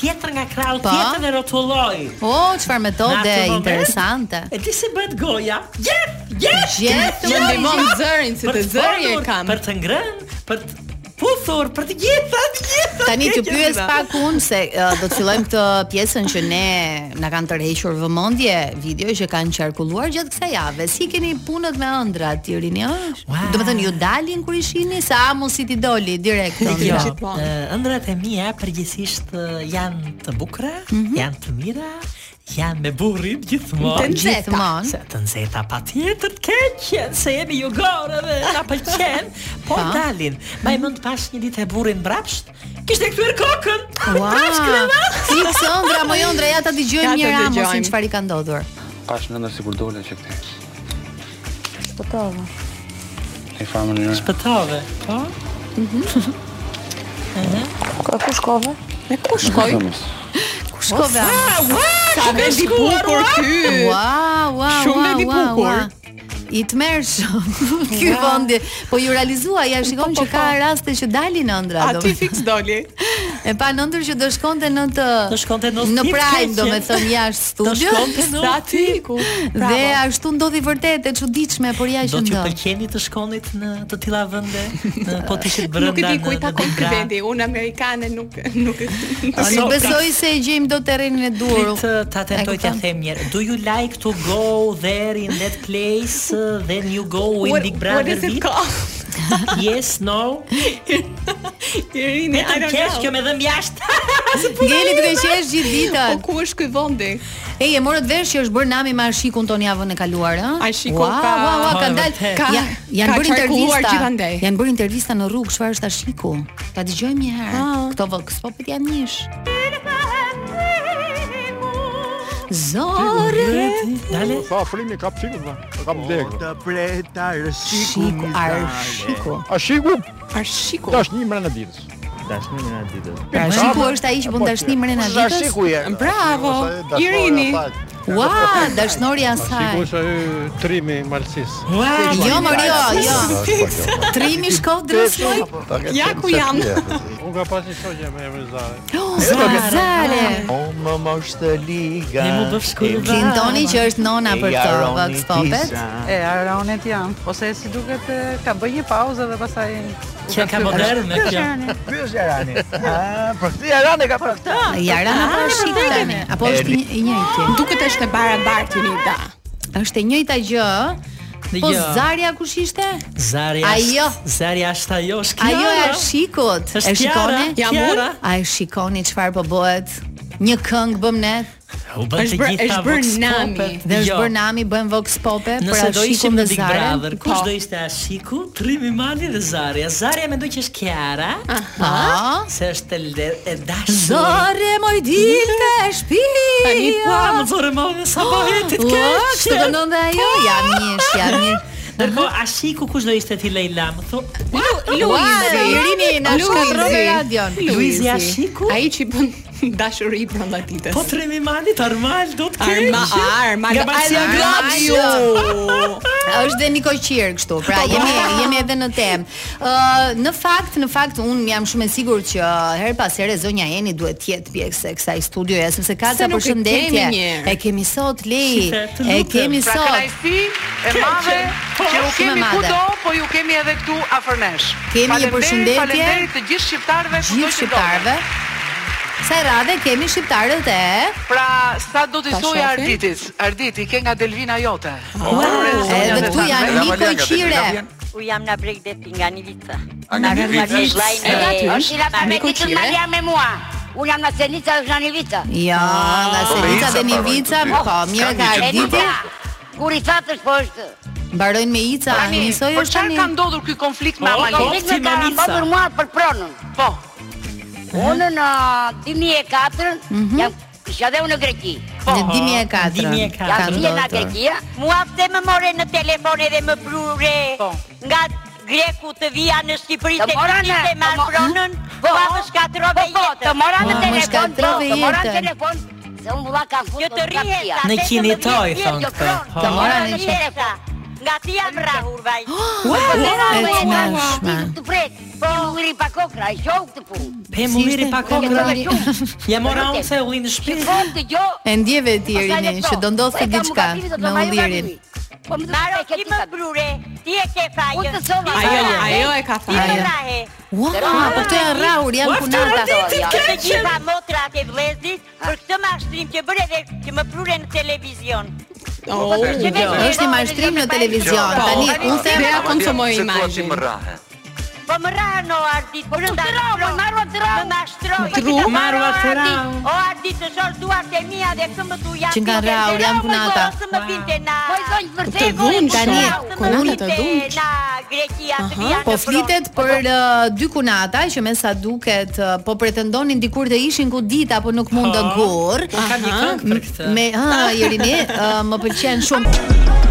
Speaker 9: tjetër nga krau
Speaker 7: Po.
Speaker 9: tjetër dhe rotulloj.
Speaker 7: O, Po, çfarë metode
Speaker 9: Në atë moment-
Speaker 7: interesante.
Speaker 9: E ti si bëhet goja? Gjep, gjep,
Speaker 7: Gjep,
Speaker 9: gjep,
Speaker 12: më ndihmon
Speaker 9: gjep.
Speaker 12: zërin, si
Speaker 9: Për
Speaker 12: të zëri e
Speaker 9: folur,
Speaker 12: kam.
Speaker 9: Për të ngrënë, për të puthur, për të gjitha, të gjitha.
Speaker 7: Tani
Speaker 9: të
Speaker 7: të
Speaker 9: gjitha.
Speaker 7: pyes pak unë se ë, do të fillojmë këtë pjesën që ne na kanë tërhequr vëmendje, video që kanë qarkulluar gjatë kësaj jave. Si keni punët me ëndrat ti Rini? ë?
Speaker 9: Wow.
Speaker 7: Domethënë ju dalin kur ishini sa amu si ti doli direkt
Speaker 9: Jo,
Speaker 7: ëndra.
Speaker 12: gjithmonë.
Speaker 9: e, ëndrat e mia përgjithsisht e, janë të bukura,
Speaker 12: Mhm.
Speaker 9: janë të mira, janë me burrin gjithmonë.
Speaker 7: Gjithmonë.
Speaker 9: Se të nxehta pa tjetër të keqen, se jemi jugore dhe na pëlqen, po dalin.
Speaker 12: Mhm.
Speaker 9: Mbaj mend pas një ditë e burrin mbrapsht, kishte kthyer kokën.
Speaker 7: Wow.
Speaker 9: Mbrapsht krevat.
Speaker 7: Fiks ëndra, moj ëndra, ja ta
Speaker 12: Ja
Speaker 7: dëgjojmë
Speaker 12: ta
Speaker 7: një Ramosin
Speaker 12: dëgjojmë.
Speaker 7: çfarë i ka ndodhur.
Speaker 5: Pash në ndër si kur dole që këte.
Speaker 2: Shpëtova.
Speaker 5: Në farë mënyrë.
Speaker 9: Shpëtove. Po.
Speaker 12: Mhm.
Speaker 2: Ka ku shkove?
Speaker 12: Me ku shkoj?
Speaker 7: Ku shkove? amu?
Speaker 12: Sa vendi bukur ky.
Speaker 7: Wow, wow,
Speaker 12: Shumë
Speaker 7: wow,
Speaker 12: vendi
Speaker 7: wow,
Speaker 12: bukur.
Speaker 7: wow. I tmerrshëm ky vendi. Po ju realizua, ja shikon që ka raste që dalin ëndra.
Speaker 12: A ti
Speaker 7: domethënë.
Speaker 12: fiks doli.
Speaker 7: E pa në ndër që do shkonte në të
Speaker 9: Do shkonte në
Speaker 7: në
Speaker 9: stil
Speaker 7: prime,
Speaker 9: keqe.
Speaker 7: do me thënë jashtë
Speaker 9: Do
Speaker 7: studio.
Speaker 9: shkonte në
Speaker 12: Sa ti ku?
Speaker 7: Dhe ashtu ndodhi vërtet e çuditshme, por ja
Speaker 9: Do
Speaker 7: që
Speaker 9: t'ju
Speaker 7: ndodh.
Speaker 9: pëlqeni të shkonit në të tilla vende, në- po t'ishit brenda.
Speaker 12: Nuk e di
Speaker 9: në-
Speaker 12: ku i
Speaker 9: në
Speaker 12: takon ky
Speaker 9: Belgrad.
Speaker 12: vendi. Unë amerikane nuk nuk e di.
Speaker 7: A, Nuk besoj se e gjejmë do terrenin e dur.
Speaker 9: Prit uh, ta tentoj
Speaker 7: E
Speaker 9: t'ja
Speaker 7: kupton?
Speaker 9: them një herë. Do you like to go there in that place uh, then you go in
Speaker 12: What-
Speaker 9: Big Brother
Speaker 12: What is it
Speaker 9: VIP?
Speaker 12: called?
Speaker 9: Yes, no.
Speaker 12: Irini, I
Speaker 9: Vetëm
Speaker 12: don't
Speaker 9: qesh që
Speaker 12: know.
Speaker 9: me dhëm jashtë.
Speaker 7: Ngeli duke qesh gjithë
Speaker 12: Po
Speaker 7: ditën.
Speaker 12: ku është ky vendi?
Speaker 7: Ej, e morët vesh që është bërë nami me Ashikun ton javën e kaluar, ë?
Speaker 12: A Shiku
Speaker 7: Ua,
Speaker 12: ka-
Speaker 7: ua, ua, ka
Speaker 9: Po, e
Speaker 7: dal.
Speaker 9: vërtet.
Speaker 12: ka-
Speaker 7: Ja- janë
Speaker 12: ka
Speaker 7: bërë
Speaker 12: qarkulluar
Speaker 7: intervista.
Speaker 12: gjithandej.
Speaker 7: Janë bërë intervista në rrugë, çfarë është Ashiku? Ta dëgjojmë një herë.
Speaker 12: Ah.
Speaker 7: Këto vox popit janë mish. Zorë
Speaker 9: Dale.
Speaker 5: Sa frimi ka psikur, ba. Ka vdekur.
Speaker 10: Të preta rëshiku
Speaker 7: Shiku, ar shiku.
Speaker 5: A shiku,
Speaker 12: Arshiku.
Speaker 5: tash një mërë në ditës.
Speaker 7: Pra shiku është ai që bën dashni mrena
Speaker 10: Sa
Speaker 7: ditës.
Speaker 10: shiku je?
Speaker 12: Bravo. Irini.
Speaker 7: Ua, dashnori i asaj.
Speaker 5: është ajo trimi i malsis.
Speaker 9: Wow.
Speaker 7: Jo, Mario, jo. Trimi shkodrës. lloj.
Speaker 12: Ja ku jam.
Speaker 5: Unë ka pas një shoqe me emrin Zare.
Speaker 7: Zare. Zare.
Speaker 10: O më moshtë liga
Speaker 9: Ne mu bëf shkurë.
Speaker 7: Klintoni që është nona për të Vox Popet.
Speaker 2: E, Araonet jam. Ose si duket e, ka bëj një pauzë dhe pastaj
Speaker 9: Që ka modern me kjo.
Speaker 10: Ky është Jarani Ah, për këtë Jarani ka për këtë
Speaker 7: Jara na
Speaker 9: Ah,
Speaker 7: pa shik po tani. Apo është i i njëjti?
Speaker 12: Duket është e barabartë Irida.
Speaker 7: Është e njëjta gjë. ë? Po
Speaker 9: Jo.
Speaker 7: Zarja kush ishte?
Speaker 9: Zari
Speaker 7: Ajo.
Speaker 9: është. Zari është ajo. është
Speaker 7: Ajo e
Speaker 9: Kiara.
Speaker 7: Ashikut. E
Speaker 9: jo. Është Kiara,
Speaker 7: shikoni?
Speaker 12: Jam
Speaker 9: Kiara.
Speaker 12: unë.
Speaker 7: A e shikoni çfarë po bëhet? Një këngë bëm ne
Speaker 9: U bën të
Speaker 12: Është bërë-
Speaker 9: gjitha
Speaker 12: është bërë
Speaker 9: vox
Speaker 12: nami.
Speaker 9: popet.
Speaker 7: dhe është
Speaker 9: Jo.
Speaker 7: bërë nami bëjmë Vox Pope për
Speaker 9: Nëse do ishim
Speaker 7: Ashikun
Speaker 9: në
Speaker 7: dhe
Speaker 9: Big
Speaker 7: Zaren.
Speaker 9: Brother, kush
Speaker 12: Po.
Speaker 9: do ishte Ashiku, Trimi Mali dhe Zarja. Zarja mendoj që është Kiara,
Speaker 7: Po.
Speaker 9: se është e le- e dashur.
Speaker 7: Zore moj dilte e shtëpia.
Speaker 12: Tani
Speaker 9: Ua, po, më zore më po në sabahetit
Speaker 7: Ua, kështu
Speaker 9: keqë
Speaker 7: këndon dhe ajo. Ja mish, ja mish.
Speaker 9: Ndërko, Po! a shiku kush do ishte ti Lejla? Më thu,
Speaker 7: Luizi, Irini na shkatron në radion.
Speaker 9: Luizi Ashiku?
Speaker 12: Ai që i bën dashuri brenda ditës.
Speaker 9: po të remi malit, armal, do të keqë.
Speaker 12: Arma, arma,
Speaker 9: Nga Barcia
Speaker 12: I
Speaker 7: Grada.
Speaker 12: love you.
Speaker 7: Është dhe Niko Qir kështu, pra jemi jemi edhe në temë. Ë në fakt, në fakt un jam shumë e sigurt që her pas here zonja Eni duhet të jetë pjekse e kësaj studioje, sepse ka
Speaker 12: Se
Speaker 7: ca
Speaker 12: nuk e kemi
Speaker 7: përshëndetje.
Speaker 12: njerë.
Speaker 7: E kemi sot Lei,
Speaker 9: Shite, të
Speaker 7: e
Speaker 9: lutem.
Speaker 7: kemi
Speaker 2: Pra
Speaker 7: sot.
Speaker 2: kënaqësi e madhe që ju kemi
Speaker 7: shumë e madhe.
Speaker 2: kudo, po ju kemi edhe këtu afër nesh.
Speaker 7: Kemi një
Speaker 2: Faleminderit,
Speaker 7: përshëndetje.
Speaker 2: Faleminderit të gjithë shqiptarëve kudo që
Speaker 7: Gjithë
Speaker 2: do.
Speaker 7: shqiptarëve. Sa radhe kemi shqiptarët e
Speaker 2: Pra sa do të
Speaker 12: Ta
Speaker 2: thoja
Speaker 12: shohim.
Speaker 2: Arditit? Arditi ke nga Delvina jote.
Speaker 7: Edhe këtu janë Niko Qire.
Speaker 1: U jam në breg dhe ti nga një vitë.
Speaker 7: Na rëndësisht.
Speaker 1: Lajnë
Speaker 12: Edhe aty
Speaker 1: e...
Speaker 12: është
Speaker 1: Shira pa me
Speaker 12: Niko
Speaker 1: ti të
Speaker 12: Qire.
Speaker 1: marja me mua. Unë jam në Senica dhe në një vitë.
Speaker 7: Ja, nga Senica dhe Nivica, po, mirë ka Arditi.
Speaker 1: Kur i thatësh po është...
Speaker 7: Mbarojnë me Ica, njësoj
Speaker 2: Po
Speaker 7: është
Speaker 2: çfarë
Speaker 7: tani.
Speaker 2: ka ndodhur ky konflikt me
Speaker 9: Po, po.
Speaker 2: Amalin?
Speaker 1: Konflikt me
Speaker 9: si
Speaker 1: ka
Speaker 9: Manica.
Speaker 1: patur
Speaker 13: Po.
Speaker 1: mua për pronën.
Speaker 2: Po.
Speaker 13: Mhm.
Speaker 1: Unë në 2004 jam
Speaker 13: Isha dhe unë në Greqi.
Speaker 7: Po, Në 2004. 2004.
Speaker 13: po. Ja vjen nga
Speaker 7: Ka ndodhur.
Speaker 13: Greqia. Mua dhe më more në telefon edhe më prure. Nga Greku të vija në Shqipëri
Speaker 1: Të
Speaker 13: Po. të
Speaker 1: mora në-
Speaker 13: kishte
Speaker 1: të mo-
Speaker 13: marpronën, po a më shkatrove jetën. Po, të
Speaker 1: mora në Ua, më telefon, po, shkatrove të mora në jetën.
Speaker 13: telefon, se unë bulla kam futur të rrihet.
Speaker 9: Në kinitoj, thonë
Speaker 13: jo
Speaker 9: këto. Po.
Speaker 13: Të mora në telefon. Nga ti jam rahur vaj.
Speaker 9: Ua,
Speaker 13: Po,
Speaker 9: e
Speaker 13: mora në
Speaker 9: cmashme.
Speaker 13: jetën, Të prek, po uri pa kokra, i shoh këtë punë.
Speaker 9: Pe më liri pa kokra. Ja mora unë se u linë në shtëpi.
Speaker 13: Po, dëgjoj,
Speaker 7: E ndjeve ti
Speaker 13: Pastaj
Speaker 7: Erini
Speaker 13: lexo.
Speaker 7: që do ndodhte
Speaker 13: Po, e ka
Speaker 7: diçka
Speaker 13: mugatimin, do të
Speaker 7: me
Speaker 13: vajë
Speaker 7: udhërin.
Speaker 13: vajë. Po më daro ti më brure, ti e ke fajën. Unë të zova.
Speaker 7: Ajo- ajo e ka
Speaker 13: Ti më
Speaker 7: fajën.
Speaker 13: rahe.
Speaker 7: Ua, po këto janë rahur, janë punata.
Speaker 13: Ja, Të gjitha motrat e vëllezrit për këtë mashtrim që bëre dhe që më prure në televizion.
Speaker 7: Oh,
Speaker 12: jo.
Speaker 7: është i mashtrim në televizion.
Speaker 13: Po,
Speaker 7: Tani unë them
Speaker 12: Bea konsumoi
Speaker 14: Si
Speaker 12: imazhin.
Speaker 14: më rahe.
Speaker 13: Po më rahe në
Speaker 1: Po,
Speaker 13: ardit, për nda në tro, marua të rau, më mashtroj.
Speaker 9: Tru, marua të rau.
Speaker 13: O ardit të shorë duart e mia dhe këtë më tu jam.
Speaker 7: Që nga rau, janë punata.
Speaker 13: Së më vinte na. Po i zonjë
Speaker 7: Të dhunshëm. Tani, kunata të dhunshëm.
Speaker 13: Na Greqia të
Speaker 7: Aha,
Speaker 13: vija
Speaker 7: po
Speaker 13: në front.
Speaker 7: flitet për uh, dy kunata që me sa duket uh, po pretendonin dikur të ishin ku ditë apo nuk mund të
Speaker 9: Po,
Speaker 7: gur.
Speaker 9: po, kam një
Speaker 7: Aha,
Speaker 9: këngë për këtë.
Speaker 7: Me ha Jerini uh, më pëlqen shumë.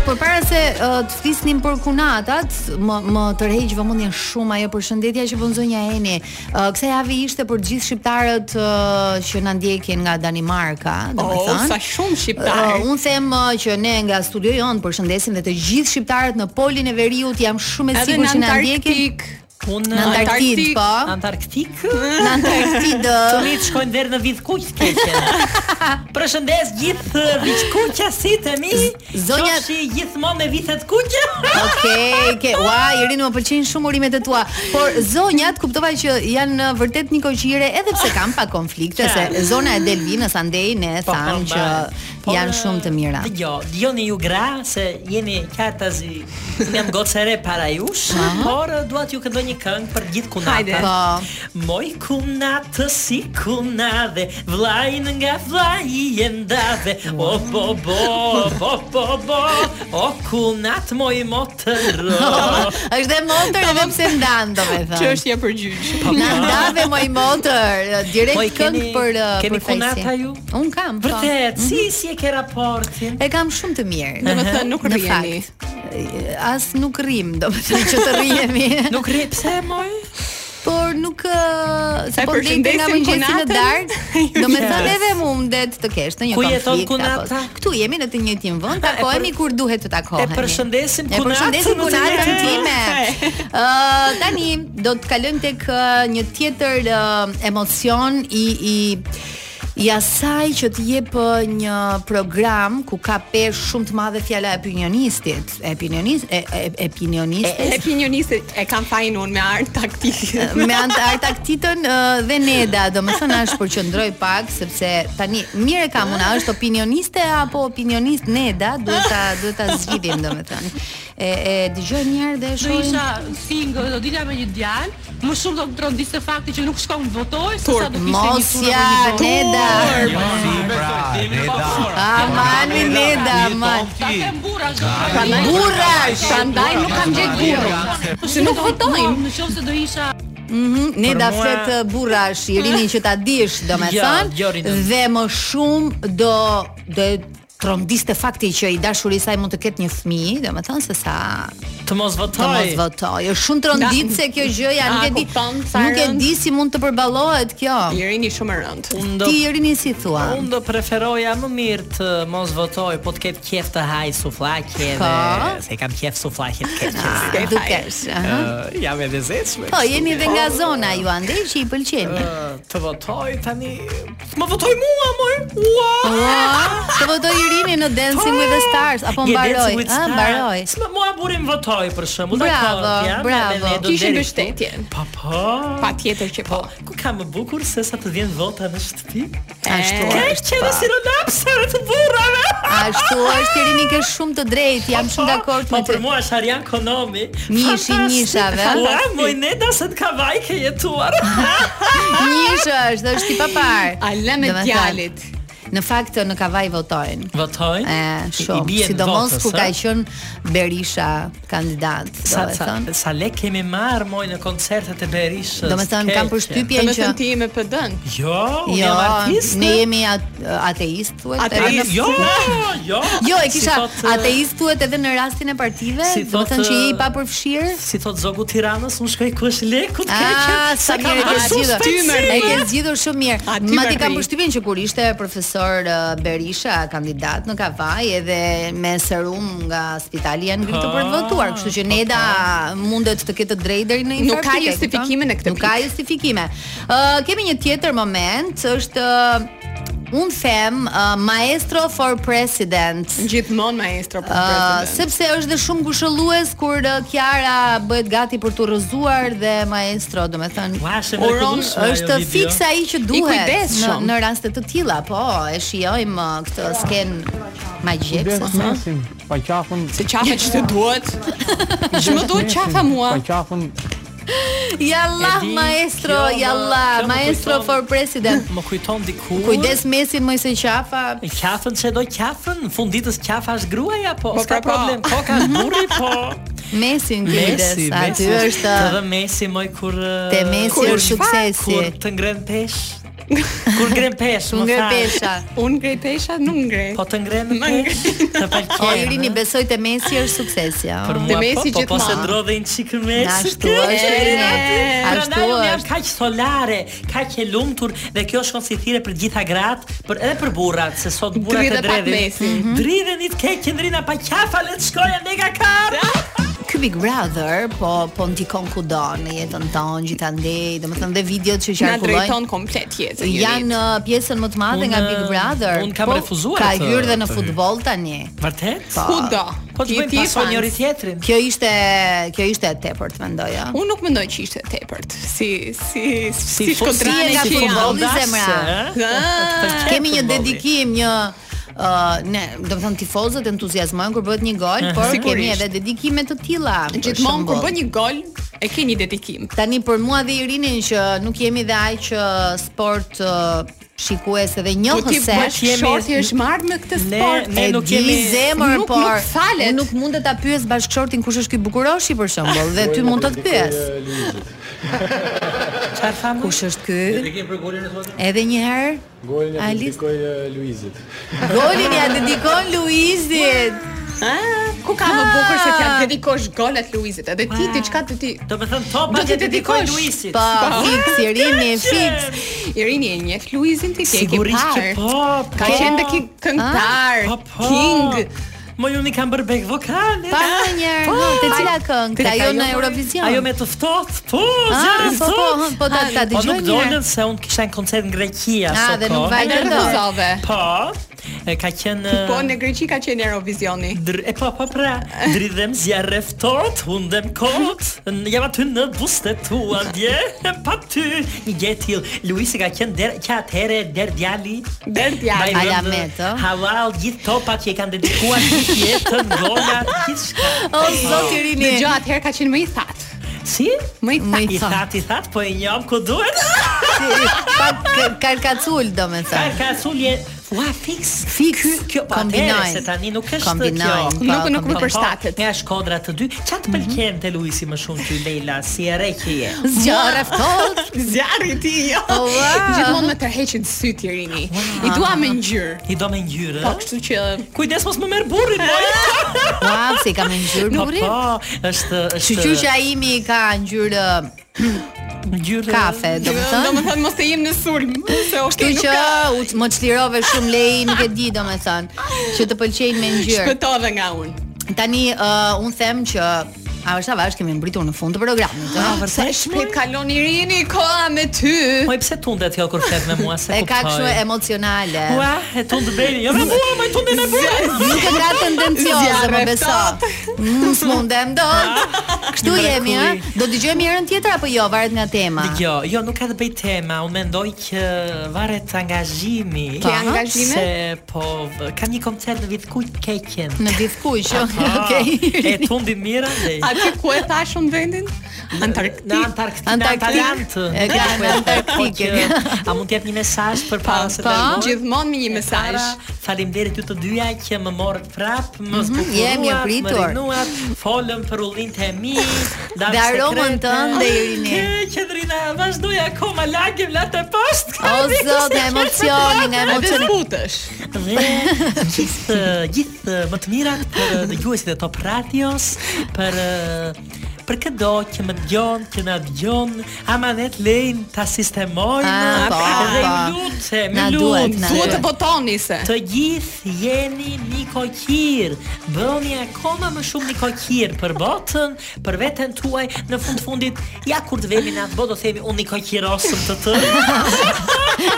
Speaker 7: Por para se uh, të flisnim për kunatat, më më tërheq vëmendjen shumë ajo përshëndetja që bën zonja Eni. Uh, Kësaj javë ishte për gjithë shqiptarët uh, që na ndjekin nga Danimarka,
Speaker 12: Oh,
Speaker 7: domethënë.
Speaker 12: sa shumë shqiptar.
Speaker 7: Uh, unë them uh, që ne nga studio jon përshëndesim dhe të gjithë shqiptarët në polin e Veriut jam shumë e
Speaker 12: Edhe
Speaker 7: sigurt
Speaker 12: në
Speaker 7: që na ndjekin.
Speaker 12: Antarktik.
Speaker 9: Unë
Speaker 7: Në Antarktid, po.
Speaker 9: Antarktik.
Speaker 7: Në Antarktidë.
Speaker 9: Çulit shkojnë deri në vit kuq të keqen. Përshëndes gjithë eh, vit kuqasit e mi.
Speaker 7: zonja-
Speaker 9: Qofshi gjithmonë me vitet kuqe.
Speaker 13: Po,
Speaker 7: Okej, ke. Ua, Irin më pëlqejnë shumë urimet e tua. Por zonjat kuptova që janë uh, vërtet një koqire edhe pse kanë pak konflikte se zona e Delvi në Sandej ne
Speaker 9: Po,
Speaker 7: thanë që janë shumë të mira.
Speaker 9: Dëgjo, Po, jo, dëgjoni ju gra se jeni qartazi. Jam gocere para jush, por eh, dua t'ju këndoj një këngë për gjithë
Speaker 12: Hajde.
Speaker 7: Po.
Speaker 9: kunatën. Po. Moj kunatë si kuna dhe Vlajnë nga vlaj e ndave O bo bo, bo bo bo O kunatë moj motër
Speaker 7: është dhe motër edhe pse ndan domethënë.
Speaker 12: Që është je përgjysh.
Speaker 7: Na ndave moj motër,
Speaker 9: Moj,
Speaker 7: direkt
Speaker 9: keni-
Speaker 7: këngë për uh,
Speaker 9: keni
Speaker 7: për Fajsin.
Speaker 9: kunata ju?
Speaker 7: Un kam. po.
Speaker 9: Vërtet, si
Speaker 7: Mhm.
Speaker 9: si e ke raportin?
Speaker 7: E kam shumë të mirë.
Speaker 12: Do të thënë, nuk
Speaker 7: Në
Speaker 12: rriheni.
Speaker 7: fakt, As nuk rrim, do të thënë që të rrihemi.
Speaker 9: Nuk rri pse moj?
Speaker 7: Por nuk ë, se
Speaker 12: E
Speaker 7: po ndjej nga
Speaker 12: përshëndesim
Speaker 7: mëngjesi në
Speaker 12: kunatën.
Speaker 7: darkë. Do të thënë edhe mu ndet të kesh në një
Speaker 9: Ku
Speaker 7: konflikt.
Speaker 9: jeton
Speaker 7: apo-
Speaker 9: kunata?
Speaker 7: Këtu jemi në të njëjtin vend, takohemi kur duhet të
Speaker 9: E
Speaker 7: takohemi.
Speaker 9: përshëndesim
Speaker 7: E përshëndesim kunatën
Speaker 9: në të
Speaker 7: time. Ë tani do të kalojmë tek ë, një tjetër ë, emocion i i i asaj që të jep ë, një program ku ka peshë shumë të madhe fjala e opinionistit, e opinionist, e, e opinionistit
Speaker 12: E pinjonisti e kam fajin unë me art taktike.
Speaker 7: me anë të artaktitën ë, dhe Neda, domethënë na shpërqendroj pak sepse tani mirë e kam unë, a është opinioniste apo opinionist Neda, duhet ta duhet ta zgjidhim domethënë. E e dëgjoj një herë dhe e
Speaker 15: Do
Speaker 7: shohim.
Speaker 15: isha single, do dilja me një djalë, më shumë do më trondiste fakti që nuk shkon të votoj, se sa do kishte një
Speaker 7: Mos
Speaker 15: turp
Speaker 7: ja,
Speaker 15: apo një dorë.
Speaker 7: Neda. jo, Aman mi Neda, aman.
Speaker 15: Ta kem burra çdo.
Speaker 7: Burra,
Speaker 12: Prandaj nuk kam gjetë burrë.
Speaker 15: Po
Speaker 12: Se nuk votojmë.
Speaker 15: Nëse do isha
Speaker 7: Mhm,
Speaker 15: Për
Speaker 7: Neda
Speaker 15: mua-
Speaker 7: flet uh, burrash, Irini që ta dish,
Speaker 15: Jo, jo,
Speaker 7: domethënë,
Speaker 15: Rina.
Speaker 7: dhe më shumë do do e trondiste fakti që i dashuri i saj mund të ketë një fëmijë, domethënë se sa
Speaker 9: Të mos
Speaker 7: të
Speaker 9: votoj.
Speaker 7: mos votoj. Është shumë trondit se kjo gjë ja nuk e di. Nuk e di si mund të përballohet kjo.
Speaker 12: Irini shumë e rëndë.
Speaker 9: Unë do-
Speaker 7: Ti Irini si thua?
Speaker 9: Unë do preferoja më mirë të mos votoj, po të ket qef të haj suflaqe dhe
Speaker 7: Po.
Speaker 9: se kam qef suflaqe të keqe.
Speaker 7: Ah,
Speaker 9: Ë,
Speaker 7: do kesh, aha.
Speaker 9: Jam e lezetshme.
Speaker 7: Po,
Speaker 9: kështu.
Speaker 7: jeni dhe nga zona ju andej që i pëlqen.
Speaker 9: Ë, Të votoj tani. Të Më votoj mua, moj. Ua!
Speaker 7: Ua, të votoj Irini në Dancing with the Stars apo
Speaker 9: Je Dancing
Speaker 7: mbaroj?
Speaker 9: with
Speaker 7: Ah,
Speaker 9: Stars.
Speaker 7: mbaroj.
Speaker 9: S'ma mua burim votoj për shembull.
Speaker 7: Bravo,
Speaker 9: dakord, jam,
Speaker 7: bravo.
Speaker 9: edhe ne do
Speaker 12: Kishin
Speaker 9: deri-
Speaker 12: mbështetjen.
Speaker 9: Po, po.
Speaker 12: Patjetër që po.
Speaker 9: Ku ka më bukur se sa të vjen vota në shtëpi?
Speaker 7: Ashtu
Speaker 9: Kesh
Speaker 7: është,
Speaker 9: që
Speaker 7: po.
Speaker 9: në sironapsër të burrave.
Speaker 7: Ashtu është Irini ke shumë të drejtë, jam shumë dakord me
Speaker 9: Po për mua është Arjan Konomi.
Speaker 7: Nishi i nishave, a?
Speaker 9: Ua, moj neta se të ka vaj ke jetuar.
Speaker 7: Njësh është, është i papar.
Speaker 12: A le me
Speaker 7: Domethënë,
Speaker 12: djalit.
Speaker 7: Në fakt në Kavaj votojnë.
Speaker 9: Votojnë?
Speaker 7: E, shumë.
Speaker 9: bien
Speaker 7: Sidomos
Speaker 9: votës,
Speaker 7: ku ka
Speaker 9: ë?
Speaker 7: qenë Berisha kandidat,
Speaker 9: Sa,
Speaker 7: do të
Speaker 9: sa,
Speaker 7: thon.
Speaker 9: sa le kemi marrë moj në koncertet e Berishës
Speaker 7: Do me thënë, kam
Speaker 9: keqe.
Speaker 7: përshtypjen
Speaker 12: Do me
Speaker 7: që-
Speaker 12: thënë ti je me PD-n.
Speaker 9: Jo, unë
Speaker 7: Jo,
Speaker 9: jam artist
Speaker 7: ne jemi at- ateist thuhet.
Speaker 9: Ateist,
Speaker 7: edhe-
Speaker 9: jo, jo
Speaker 7: Jo, e kisha
Speaker 9: si thot, ë,
Speaker 7: ateist thuhet edhe në rastin e partive,
Speaker 9: Si
Speaker 7: do
Speaker 9: thot,
Speaker 7: të thënë që je i
Speaker 9: ë,
Speaker 7: papërfshirë.
Speaker 9: Si thot zogu Tiranës, unë shkoj ku është leku të eh? keqe
Speaker 7: Ah, sa mirë e ke zgjidhur. E ke zgjidhur shumë mirë.
Speaker 12: ty
Speaker 7: Madje kam
Speaker 12: merri.
Speaker 7: përshtypjen që kur ishte profesor ë, Berisha kandidat në Kavaj edhe me serum nga spitali janë ngritur për të
Speaker 9: Ah.
Speaker 7: votuar, kështu që Neda mundet të ketë drejtë deri në një
Speaker 12: Nuk ka
Speaker 7: farë pikë, e
Speaker 12: justifikime
Speaker 7: kupton?
Speaker 12: në këtë
Speaker 7: Nuk ka
Speaker 12: pikë.
Speaker 7: justifikime. Ë kemi një tjetër moment, është ë, Unë them ë, maestro for president.
Speaker 12: Gjithmonë maestro
Speaker 7: për president. Ah, sepse është dhe shumë ngushëllues kur ë, Kiara bëhet gati për të rrëzuar dhe maestro, domethënë.
Speaker 9: Ua, është e
Speaker 7: Uron
Speaker 9: mrekullueshme ajo
Speaker 7: është
Speaker 9: video.
Speaker 7: fikse ai që
Speaker 12: I
Speaker 7: duhet në,
Speaker 12: kujdesshëm.
Speaker 7: në raste të tilla, po, e shijojmë ë, këtë sken magjik. ëh.
Speaker 14: pa qafën.
Speaker 12: Se qafa që të duhet. Që më duhet qafa mua.
Speaker 14: Pa qafën.
Speaker 7: Yallah
Speaker 9: E di,
Speaker 7: maestro,
Speaker 9: kjo më- kjo
Speaker 7: yallah
Speaker 9: më
Speaker 7: maestro
Speaker 9: kujton-
Speaker 7: for president.
Speaker 9: Më kujton dikur
Speaker 7: Kujdes mesin mojse qafa.
Speaker 9: E Qafën se do qafën, funditës qafa është gruaja po,
Speaker 7: Po,
Speaker 9: s'ka
Speaker 7: pra, po.
Speaker 9: problem, po ka burri po.
Speaker 7: Mesin kujdes. Aty është uh,
Speaker 9: Të dhe Messi moj kur uh,
Speaker 7: Te Messi
Speaker 9: kur-
Speaker 7: është suksesi.
Speaker 9: Kur të ngren pesh. Kur ngren pesh,
Speaker 7: Kur
Speaker 9: më
Speaker 7: ngren
Speaker 9: tha.
Speaker 7: pesha.
Speaker 12: Unë ngrej pesha, nuk ngrej.
Speaker 9: Po të ngren pesh. Të pëlqen.
Speaker 7: O Po, Irini besoj te Messi është suksesi. o.
Speaker 9: Për mua po, po, po se dro dhe një qikë Messi.
Speaker 7: Ashtu është, Irini, ashtu
Speaker 9: Prandaj unë jam
Speaker 7: është.
Speaker 9: Pra kaq solare, kaq e lumtur dhe kjo shkon si thirrje për gjitha gratë, për edhe për burrat, se sot burrat
Speaker 12: Dridhe
Speaker 9: e
Speaker 12: pak Mhm.
Speaker 9: dredhin.
Speaker 12: Messi.
Speaker 9: Dridheni të keq qendrina pa qafa, le të shkojë mega kar.
Speaker 7: Ky Big Brother po po ndikon kudo në jetën tonë gjithandej, domethënë dhe videot që
Speaker 12: Na
Speaker 7: qarkullojnë.
Speaker 12: drejton komplet jetën.
Speaker 7: janë
Speaker 12: Janë
Speaker 7: uh, pjesën më të madhe
Speaker 9: Unë,
Speaker 7: nga Big Brother. Po,
Speaker 9: unë kam refuzuar
Speaker 7: Ka
Speaker 9: të-
Speaker 7: hyrë dhe në
Speaker 9: të hy.
Speaker 7: futboll tani.
Speaker 9: Vërtet?
Speaker 7: Po.
Speaker 12: Ku do?
Speaker 9: Po të
Speaker 12: Ti-
Speaker 9: bëjmë
Speaker 12: ti je
Speaker 9: pason
Speaker 12: fans.
Speaker 9: njëri tjetrin.
Speaker 7: Kjo ishte kjo ishte e tepërt mendoj, ja.
Speaker 12: Unë nuk mendoj që ishte tepërt. Si si si
Speaker 7: fut- si e nga futbolli, zemra.
Speaker 12: zemra.
Speaker 7: Kemi
Speaker 9: eh?
Speaker 7: një dedikim, një Uh, ne, do të thënë tifozët entuziazmojnë kur bëhet një gol,
Speaker 12: Mhm.
Speaker 7: por
Speaker 12: Sigurisht.
Speaker 7: kemi edhe dedikime të tilla. për
Speaker 12: Gjithmonë kur
Speaker 7: shembull.
Speaker 12: bën një gol, e ke një dedikim.
Speaker 7: Tani për mua dhe Irinin që nuk jemi dhe aq ë, sport ë, shikuese
Speaker 12: Po
Speaker 7: dhe
Speaker 12: ti
Speaker 7: njohëse.
Speaker 12: bësh shorti është marrë me këtë
Speaker 7: Ne,
Speaker 12: sport.
Speaker 7: ne nuk jemi zemër,
Speaker 12: Nuk-
Speaker 7: por
Speaker 12: nuk falet.
Speaker 7: unë nuk mund ta pyes bashkëshortin kush është ky bukuroshi për shembull dhe ty mund të të pyes.
Speaker 9: Çfarë thamë?
Speaker 7: Kush është ky? Edhe një herë
Speaker 16: Golin
Speaker 7: A,
Speaker 16: e
Speaker 7: Lis?
Speaker 16: dedikoj e, Luizit.
Speaker 7: golin ja dedikon Luizit.
Speaker 12: Ah, ku ka më bukur se t'ja dedikosh golet Luizit, edhe ti diçka të ti.
Speaker 9: Do të thënë topa
Speaker 12: Do
Speaker 9: t'ja
Speaker 12: t'i
Speaker 9: dedikoj
Speaker 12: dedikosh
Speaker 9: Luizit.
Speaker 7: Po, fix, Irini, fix.
Speaker 12: Irini e njeh Luizin ti ti e ke
Speaker 9: Sigurisht që
Speaker 12: parë.
Speaker 9: po. po.
Speaker 12: Ka qenë dhe ki këngëtar,
Speaker 9: Po, po.
Speaker 12: king.
Speaker 9: Më unë i kam bërë back vokale.
Speaker 7: Pa një herë, no, te cila këngë? Te ajo në Eurovision.
Speaker 9: eh? Ajo me të ftohtë. Po,
Speaker 7: Ah,
Speaker 9: zëri
Speaker 7: po, po,
Speaker 9: ftohtë.
Speaker 7: hë, po, ta- ta
Speaker 9: Po
Speaker 7: dëgjoj
Speaker 9: nuk
Speaker 7: një
Speaker 9: dolën
Speaker 7: herë.
Speaker 9: se unë kisha një koncert në Greqi
Speaker 7: Ah,
Speaker 9: aso
Speaker 7: dhe nuk vajte
Speaker 12: Edhe dot. refuzove.
Speaker 9: Po. e, Ka qenë
Speaker 12: Po në Greqi ka qenë Eurovisioni.
Speaker 9: Dr e po po pra dridhem zjarre ftoht hundem kot n- jam aty në bustet tua dje e pa ty një gjë e tillë Luisi ka qenë der që atëherë der djali
Speaker 12: der djali.
Speaker 7: Alamet, ë?
Speaker 9: halal gjithë topat që i kanë dedikuar gjithë jetën golat gjithçka
Speaker 7: O, zot Irini.
Speaker 12: Dëgjoj atëherë ka qenë më i that.
Speaker 9: si
Speaker 12: Më i
Speaker 7: Më i
Speaker 9: i
Speaker 7: thatë.
Speaker 9: that i that po e njom ku duhet
Speaker 7: Pak k- karkacul
Speaker 9: ka
Speaker 7: domethënë.
Speaker 9: ka sulje Ua, fix.
Speaker 7: Fix.
Speaker 9: Ky- Kjo po atëherë
Speaker 7: Kombinojnë.
Speaker 9: se tani nuk është
Speaker 7: Kombinojnë,
Speaker 9: kjo.
Speaker 7: po, Nuk- Mhm. nuk më kombinojnë.
Speaker 12: përshtatet.
Speaker 9: Nga shkodra të dy, ç'a të pëlqen te Luisi më shumë ty Leila, si e re që je?
Speaker 7: Zjarre ftohtë.
Speaker 12: Zjarri ti jo.
Speaker 7: Oh, wow.
Speaker 12: Gjithmonë me tërheqin syt Irini. I dua me ngjyrë.
Speaker 9: I do me ngjyrë.
Speaker 12: Po
Speaker 9: ë?
Speaker 12: kështu që
Speaker 9: Kujdes mos më merr burrin, moj.
Speaker 7: Ua, se i ka me ngjyrë
Speaker 9: Po,
Speaker 7: burin.
Speaker 9: po, është është
Speaker 7: Qyqyshja imi ka ngjyrë
Speaker 9: ngjyrë.
Speaker 7: kafe, domethënë.
Speaker 12: Domethënë mos të jem në sulm, se
Speaker 7: Kështu
Speaker 12: okay nuk
Speaker 7: që
Speaker 12: ka.
Speaker 7: u ç- më çlirove shumë lei, nuk e di domethënë, që të pëlqejnë me ngjyrë.
Speaker 12: Shpëtove nga unë.
Speaker 7: Tani uh, un them që avash avash kemi mbritur në fund të programit,
Speaker 9: Ah,
Speaker 7: ëh.
Speaker 12: Sa e shpejt kalon Irini koha me ty.
Speaker 9: Po e pse tundet kjo kur flet me mua se
Speaker 7: E
Speaker 9: kuptoj.
Speaker 7: ka kështu emocionale.
Speaker 9: Ua, e tund beni. Jo me mua, më tundet me burrin.
Speaker 7: Nuk e ka tendencioze, më
Speaker 12: Zjarre
Speaker 7: beso. Mm, S'mundem
Speaker 9: Ah,
Speaker 7: dot. Kështu
Speaker 9: Një
Speaker 7: jemi,
Speaker 9: mrekulli.
Speaker 7: ë. Do dëgjojmë herën tjetër apo jo, varet nga tema.
Speaker 9: Jo, jo, nuk ka të bëj tema. Unë mendoj që varet angazhimi.
Speaker 7: Ke
Speaker 12: angazhime?
Speaker 9: Se po v- kam një koncert në Vitkuq keqen.
Speaker 7: Në ditë kuq, ë,
Speaker 9: Ah,
Speaker 7: okay.
Speaker 9: E tundi mira dhe.
Speaker 12: A Aty ku e thashun vendin? Antarktik.
Speaker 9: Në Antarktik, në
Speaker 12: Antarktik.
Speaker 9: Antalant.
Speaker 12: E ka, në Antarktikën.
Speaker 9: Po që, A mund të jap një mesazh për para se të
Speaker 12: Po, gjithmonë me një mesazh.
Speaker 9: Faleminderit ju të dyja që më morët prap, më
Speaker 7: Mhm,
Speaker 9: zbukuruat,
Speaker 7: jemi e pritur.
Speaker 9: Më rinuat, folëm për ullin të e mi, dam
Speaker 7: Dhe aromën
Speaker 9: sekrete.
Speaker 7: tënde, Irini.
Speaker 9: Ke, Qendrina, vazhdoj akoma lagim la të post.
Speaker 7: O, zot, nga emocioni, nga
Speaker 12: Po
Speaker 7: emocioni.
Speaker 12: Futesh.
Speaker 9: Dhe gjithë gjithë më të mirat për dëgjuesit e Top Radios, për për këdo që më dëgjon, që na dëgjon, ama ne të lejnë ta sistemojmë,
Speaker 12: Ah, po,
Speaker 9: dhe
Speaker 12: po.
Speaker 9: ju lutem,
Speaker 12: Na
Speaker 9: ju
Speaker 12: duhet,
Speaker 9: lutem.
Speaker 12: na Duhet Po të duhet. votoni se.
Speaker 9: Të gjithë jeni nikokir. Bëni akoma më shumë nikokir për botën, për veten tuaj. Në fund fundit, ja kur të vemi në atë botë do themi unë nikokirosëm të të.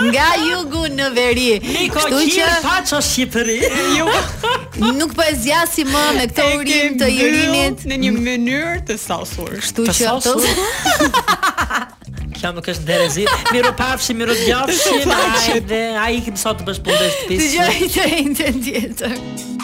Speaker 7: Nga jugu në veri.
Speaker 9: Nikokir paço Shqipëri.
Speaker 7: nuk po e zgjasi më me këtë
Speaker 12: E ke
Speaker 7: urim të
Speaker 12: mbyll
Speaker 7: Irinit.
Speaker 12: në një mënyrë të sasur.
Speaker 7: Kështu që të
Speaker 9: Kjo nuk është derezi. Miru pafshim, miru djafshim,
Speaker 7: Të shofaqet.
Speaker 9: ajde, a ikim sot të bësh punë dhe shtëpisë.
Speaker 7: dëgjoj të njëjtën tjetër.